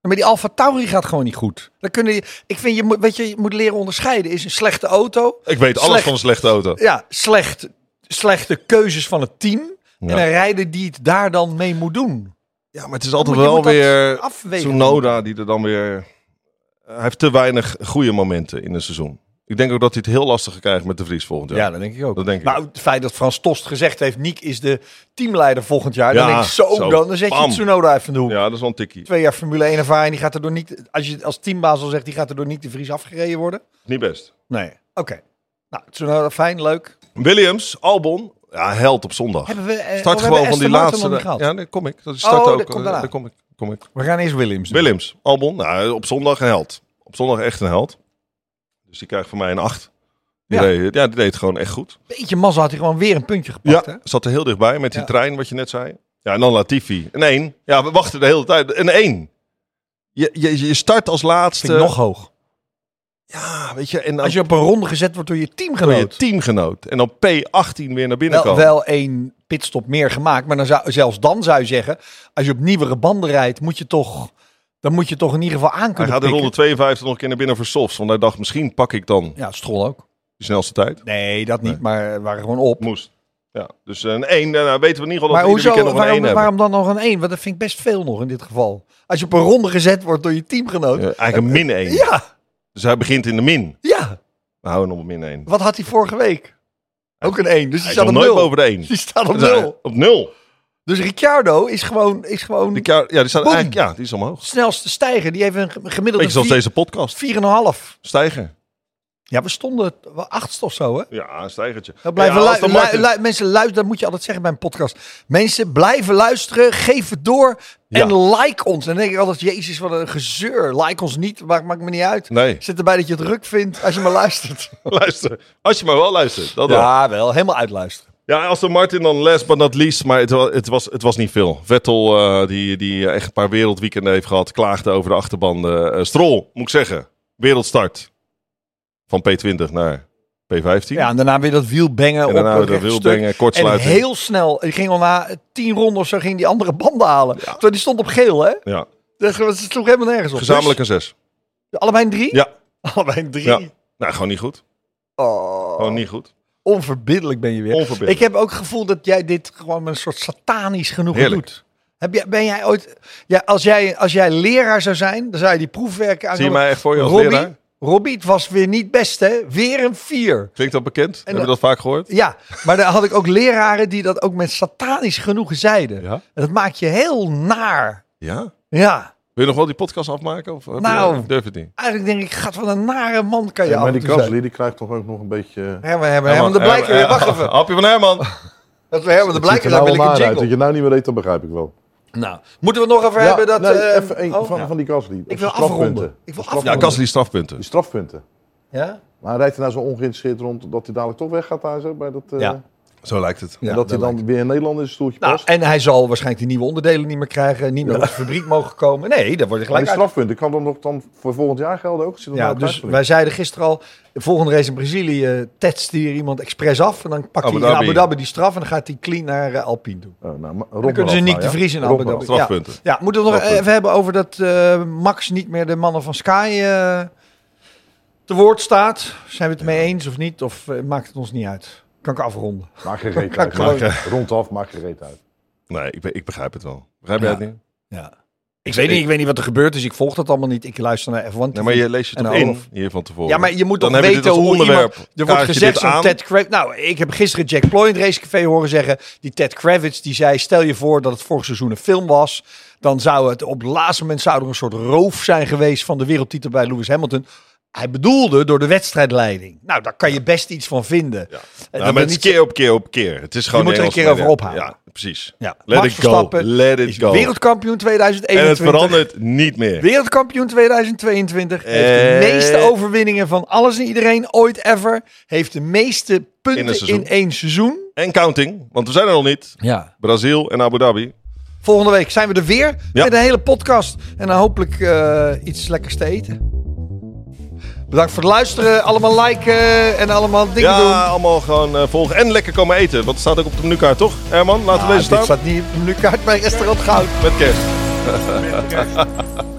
Speaker 1: Maar die Alfa Tauri gaat gewoon niet goed. Dan kunnen die, ik vind, je moet, weet je, je moet leren onderscheiden. Is een slechte auto
Speaker 2: Ik weet alles
Speaker 1: Slecht.
Speaker 2: van een slechte auto.
Speaker 1: ja, slecht, slechte keuzes van het team.
Speaker 2: Ja.
Speaker 1: En een rijder die het daar dan mee moet doen.
Speaker 2: Ja, maar het is altijd
Speaker 1: Moet je-
Speaker 2: wel
Speaker 1: moet dat
Speaker 2: weer
Speaker 1: afwegen.
Speaker 2: Tsunoda die er dan weer... eh, Hij heeft te weinig goede momenten in een seizoen. Ik denk ook dat hij het heel lastig krijgt met de Vries volgend jaar.
Speaker 1: Ja, dat denk ik ook.
Speaker 2: Dat denk ik.
Speaker 1: Maar het feit dat Frans Tost gezegd heeft... Niek is de teamleider volgend jaar. dan
Speaker 2: Ja,
Speaker 1: denk ik, zo,
Speaker 2: zo.
Speaker 1: dan. Dan zet
Speaker 2: Bam.
Speaker 1: je Tsunoda even in de hoek.
Speaker 2: Ja, dat is wel een tikkie.
Speaker 1: Twee jaar Formule 1 ervaring. Die gaat er door niet... Als je als teambaas al zegt, die gaat er door Niek de Vries afgereden worden.
Speaker 2: Niet best.
Speaker 1: Nee. Oké. Nou, Tsunoda, fijn, leuk.
Speaker 2: Williams, Albon, ja, held op zondag.
Speaker 1: Hebben we, eh,
Speaker 2: Start
Speaker 1: oh, we
Speaker 2: gewoon van
Speaker 1: hebben
Speaker 2: die
Speaker 1: Aston Martin
Speaker 2: laatste.
Speaker 1: nog niet gehad.
Speaker 2: ja, daar kom ik. Dat is start
Speaker 1: Oh,
Speaker 2: ook.
Speaker 1: dat komt
Speaker 2: eh,
Speaker 1: daarna.
Speaker 2: daar kom ik. Kom ik.
Speaker 1: We gaan eerst Williams doen.
Speaker 2: Williams, Albon, nou, op zondag een held. Op zondag echt een held. Dus die krijgt van mij een 8. Die
Speaker 1: Ja.
Speaker 2: ja. Deed, ja, die deed het gewoon echt goed.
Speaker 1: Beetje mazzel had hij gewoon weer een puntje
Speaker 2: Ja,
Speaker 1: gepakt, hè?
Speaker 2: zat er heel dichtbij met die
Speaker 1: Ja.
Speaker 2: trein, wat je net zei. Ja, en dan Latifi. Een 1. Ja, we wachten de hele tijd. Een 1. Je, je, je start als laatste.
Speaker 1: Vind ik nog hoog.
Speaker 2: Ja, weet je. En dan
Speaker 1: Als je op een ronde gezet wordt door je
Speaker 2: door je
Speaker 1: teamgenoot.
Speaker 2: teamgenoot. En dan P18 weer naar
Speaker 1: wel,
Speaker 2: binnen komen.
Speaker 1: Nou, wel één pitstop meer gemaakt. Maar dan zou, zelfs dan zou je zeggen, als je op nieuwere banden rijdt, moet je toch, dan moet je toch in ieder geval aan
Speaker 2: Hij
Speaker 1: kunnen
Speaker 2: gaat de
Speaker 1: pikken.
Speaker 2: ronde 52 nog een keer naar binnen voor softs. Want hij dacht, misschien pak ik dan
Speaker 1: Ja, Strol ook.
Speaker 2: de snelste tijd.
Speaker 1: Nee, dat niet,
Speaker 2: Nee.
Speaker 1: maar we waren gewoon op.
Speaker 2: Moest. Ja, dus een 1, nou weten we niet ieder
Speaker 1: Maar
Speaker 2: weekend
Speaker 1: hoezo,
Speaker 2: nog een één
Speaker 1: waarom,
Speaker 2: hebben.
Speaker 1: waarom dan nog een 1? Want dat vind ik best veel nog in dit geval. Als je op een ronde gezet wordt door je teamgenoot.
Speaker 2: Ja, eigenlijk een min 1.
Speaker 1: Ja,
Speaker 2: Dus hij begint in de min.
Speaker 1: ja.
Speaker 2: We houden hem op min 1.
Speaker 1: Wat had hij vorige week? Ook een 1, dus die
Speaker 2: Hij is
Speaker 1: staat
Speaker 2: nog
Speaker 1: op
Speaker 2: nooit
Speaker 1: 0.
Speaker 2: boven de 1.
Speaker 1: Die staat op 0.
Speaker 2: Op 0.
Speaker 1: Dus Ricciardo is gewoon, is gewoon
Speaker 2: Die, ka- ja, die staat
Speaker 1: Boom.
Speaker 2: eigenlijk, ja, die is omhoog.
Speaker 1: snelste stijger. Die heeft een ge-
Speaker 2: Beetje zoals
Speaker 1: gemiddelde
Speaker 2: deze podcast.
Speaker 1: 4,5.
Speaker 2: Stijger.
Speaker 1: Ja, we stonden t- wel achtste of zo, hè?
Speaker 2: Ja, een stijgertje.
Speaker 1: Dat blijven
Speaker 2: ja,
Speaker 1: lu-
Speaker 2: Aston
Speaker 1: lu-
Speaker 2: Martin.
Speaker 1: lu- mensen luisteren, dat moet je altijd zeggen bij een podcast. Mensen blijven luisteren, geef het door en like ons. En dan denk ik altijd, jezus, wat een gezeur. Like ons niet, maakt, maakt me niet uit.
Speaker 2: Nee,
Speaker 1: Zit erbij dat je het ruk vindt als je maar
Speaker 2: [LAUGHS]
Speaker 1: luistert.
Speaker 2: [LAUGHS] luister. Als je maar wel luistert. Dat wel.
Speaker 1: ja, wel. Helemaal uitluisteren.
Speaker 2: Ja, Aston Martin dan last but not least. Maar het, wa- het, was, het was niet veel. Vettel, eh, die, die echt een paar wereldweekenden heeft gehad, klaagde over de achterbanden. Eh Strol, moet ik zeggen. Wereldstart. Van P20 naar P15.
Speaker 1: Ja, en daarna weer dat wiel bengen
Speaker 2: en
Speaker 1: op
Speaker 2: daarna
Speaker 1: een
Speaker 2: de
Speaker 1: rechtstuk.
Speaker 2: wielbengen,
Speaker 1: En
Speaker 2: kortsluiting.
Speaker 1: heel snel, die ging al na tien ronden of zo, ging die andere banden halen. Terwijl die stond op geel, hè?
Speaker 2: Ja,
Speaker 1: Dat dat sloeg helemaal nergens op.
Speaker 2: gezamenlijk een 6.
Speaker 1: Dus, allebei een drie?
Speaker 2: Ja.
Speaker 1: [LAUGHS] Allebei een drie?
Speaker 2: ja. Nou, gewoon niet goed.
Speaker 1: Oh.
Speaker 2: Gewoon niet goed.
Speaker 1: Onverbiddelijk ben je weer.
Speaker 2: Onverbiddelijk.
Speaker 1: Ik heb ook het gevoel dat jij dit gewoon met een soort satanisch genoegen
Speaker 2: Heerlijk.
Speaker 1: doet. Heb jij, ben jij ooit... Ja, als, jij, als jij leraar zou zijn, dan zou je die proefwerken aan.
Speaker 2: Zie je mij echt voor je als leraar?
Speaker 1: Robbie, het was weer niet best, hè? Weer een vier.
Speaker 2: Klinkt dat bekend? Heb je
Speaker 1: dan-
Speaker 2: dat vaak gehoord?
Speaker 1: Ja, maar daar had ik ook leraren die dat ook met satanisch genoegen zeiden.
Speaker 2: Ja?
Speaker 1: En dat maakt je heel naar.
Speaker 2: Ja? Wil
Speaker 1: Ja,
Speaker 2: je nog wel die podcast afmaken? Of heb je-
Speaker 1: Nou.
Speaker 2: durf je het niet?
Speaker 1: eigenlijk denk ik, gaat van een nare man kan je af
Speaker 3: maar
Speaker 1: en
Speaker 3: die
Speaker 1: toe zijn.
Speaker 3: Gasly die krijgt toch ook nog een beetje...
Speaker 1: Herman, Herman, Herman, dat blijkt
Speaker 2: Herman,
Speaker 1: weer. Wacht
Speaker 2: [LAUGHS] Herman.
Speaker 1: even.
Speaker 2: Hapje van Herman.
Speaker 1: Dat we Herman, dat
Speaker 3: Het
Speaker 1: blijkt
Speaker 3: ziet er
Speaker 1: weer. Dan
Speaker 3: nou
Speaker 1: wil ik
Speaker 3: wel
Speaker 1: een
Speaker 3: naar uit. Dat
Speaker 1: jingle.
Speaker 3: je nou niet meer weet, dat begrijp ik wel.
Speaker 1: Nou, moeten we het nog even hebben dat...
Speaker 3: nee,
Speaker 1: eh,
Speaker 3: even een
Speaker 1: oh,
Speaker 3: van,
Speaker 1: ja.
Speaker 3: van die Gasly. Op
Speaker 1: wil
Speaker 3: zijn
Speaker 1: afronden.
Speaker 3: strafpunten.
Speaker 1: Ik wil
Speaker 3: Zijn
Speaker 1: afronden.
Speaker 2: Ja, Gasly strafpunten.
Speaker 3: Die strafpunten.
Speaker 1: Ja?
Speaker 3: Maar hij rijdt er nou zo ongeïnteresseerd rond dat hij dadelijk toch weggaat daar zo bij dat... eh,
Speaker 1: Ja.
Speaker 3: en
Speaker 2: Zo lijkt het.
Speaker 1: Ja,
Speaker 3: dat hij
Speaker 1: dat
Speaker 3: dan weer in Nederland in zijn stoeltje
Speaker 1: Nou,
Speaker 3: past.
Speaker 1: en hij zal waarschijnlijk die nieuwe onderdelen niet meer krijgen. Niet meer op de fabriek mogen komen. Nee, daar wordt hij
Speaker 3: Maar die
Speaker 1: gelijk uit.
Speaker 3: strafpunten kan dan nog dan voor volgend jaar gelden ook? Zit er
Speaker 1: Ja,
Speaker 3: nou
Speaker 1: dus
Speaker 3: thuisverlies?
Speaker 1: wij zeiden gisteren al, de volgende race in Brazilië eh, test hier iemand expres af. En dan pakt
Speaker 2: Abu
Speaker 1: hij in
Speaker 2: Dhabi.
Speaker 1: Abu Dhabi die straf en dan gaat hij clean naar eh, Alpine toe.
Speaker 3: Oh, nou, maar
Speaker 1: Dan kunnen ze Nick de Vries in Abu Dhabi. Ja.
Speaker 2: Strafpunten.
Speaker 1: ja, moeten we het nog
Speaker 2: Strafpunten.
Speaker 1: even hebben over dat eh, Max niet meer de mannen van Sky eh, te woord staat. Zijn we het mee eens of niet? Of eh, maakt het ons niet uit? Kan ik afronden?
Speaker 3: Maak geen reet
Speaker 1: Kan ik [LAUGHS] gewoon-
Speaker 3: uit. Maak- Rondaf, maak geen reet uit.
Speaker 2: Nee, ik, be- ik begrijp het wel. Begrijp
Speaker 1: Ja.
Speaker 2: jij het niet?
Speaker 1: Ja. Ik, weet niet, ik weet niet wat er gebeurt, dus ik volg dat allemaal niet. Ik luister naar F1
Speaker 2: Nee,
Speaker 1: TV.
Speaker 2: maar je leest je
Speaker 1: En
Speaker 2: toch
Speaker 1: de
Speaker 2: in
Speaker 1: Olaf.
Speaker 2: hier van tevoren?
Speaker 1: Ja, maar je moet
Speaker 2: Dan
Speaker 1: toch
Speaker 2: heb je dit
Speaker 1: weten
Speaker 2: als
Speaker 1: hoe
Speaker 2: onderwerp.
Speaker 1: iemand... Er wordt
Speaker 2: Kaartje
Speaker 1: gezegd,
Speaker 2: dit
Speaker 1: zo'n
Speaker 2: aan.
Speaker 1: Ted Kravitz... Nou, ik heb gisteren Jack Ploy in het Race Café horen zeggen... die Ted Kravitz, die zei... stel je voor dat het vorig seizoen een film was... dan zou het op het laatste moment... zou er een soort roof zijn geweest van de wereldtitel bij Lewis Hamilton... Hij bedoelde door de wedstrijdleiding. Nou, daar kan je best iets van vinden. Eh, Ja,
Speaker 2: Nou, maar het is keer op keer op keer. Het is gewoon
Speaker 1: moet er een
Speaker 2: Engels
Speaker 1: keer over
Speaker 2: media.
Speaker 1: ophouden.
Speaker 2: Ja, precies.
Speaker 1: Ja.
Speaker 2: Let
Speaker 1: Max
Speaker 2: it go.
Speaker 1: Verstappen
Speaker 2: Let it
Speaker 1: is
Speaker 2: go.
Speaker 1: Wereldkampioen
Speaker 2: En het
Speaker 1: 2021.
Speaker 2: verandert niet meer.
Speaker 1: Wereldkampioen 2022. Heeft
Speaker 2: Eh.
Speaker 1: de meeste overwinningen van alles en iedereen ooit ever. Heeft de meeste
Speaker 2: In een
Speaker 1: punten in,
Speaker 2: seizoen.
Speaker 1: één seizoen.
Speaker 2: En counting, want we zijn er nog niet.
Speaker 1: Ja.
Speaker 2: Brazil en Abu Dhabi.
Speaker 1: Volgende week zijn we er weer
Speaker 2: Ja.
Speaker 1: met een hele podcast. En dan hopelijk eh, iets lekkers te eten. Bedankt voor het luisteren. Allemaal liken en allemaal dingen
Speaker 2: ja,
Speaker 1: doen.
Speaker 2: allemaal gewoon eh, volgen. En lekker komen eten, want het staat ook op de menukaart, toch? Herman, laten we
Speaker 1: Ah,
Speaker 2: deze
Speaker 1: dit
Speaker 2: staan.
Speaker 1: staat niet op de menukaart bij restaurant Goud.
Speaker 2: Met kerst.
Speaker 6: Met kerst.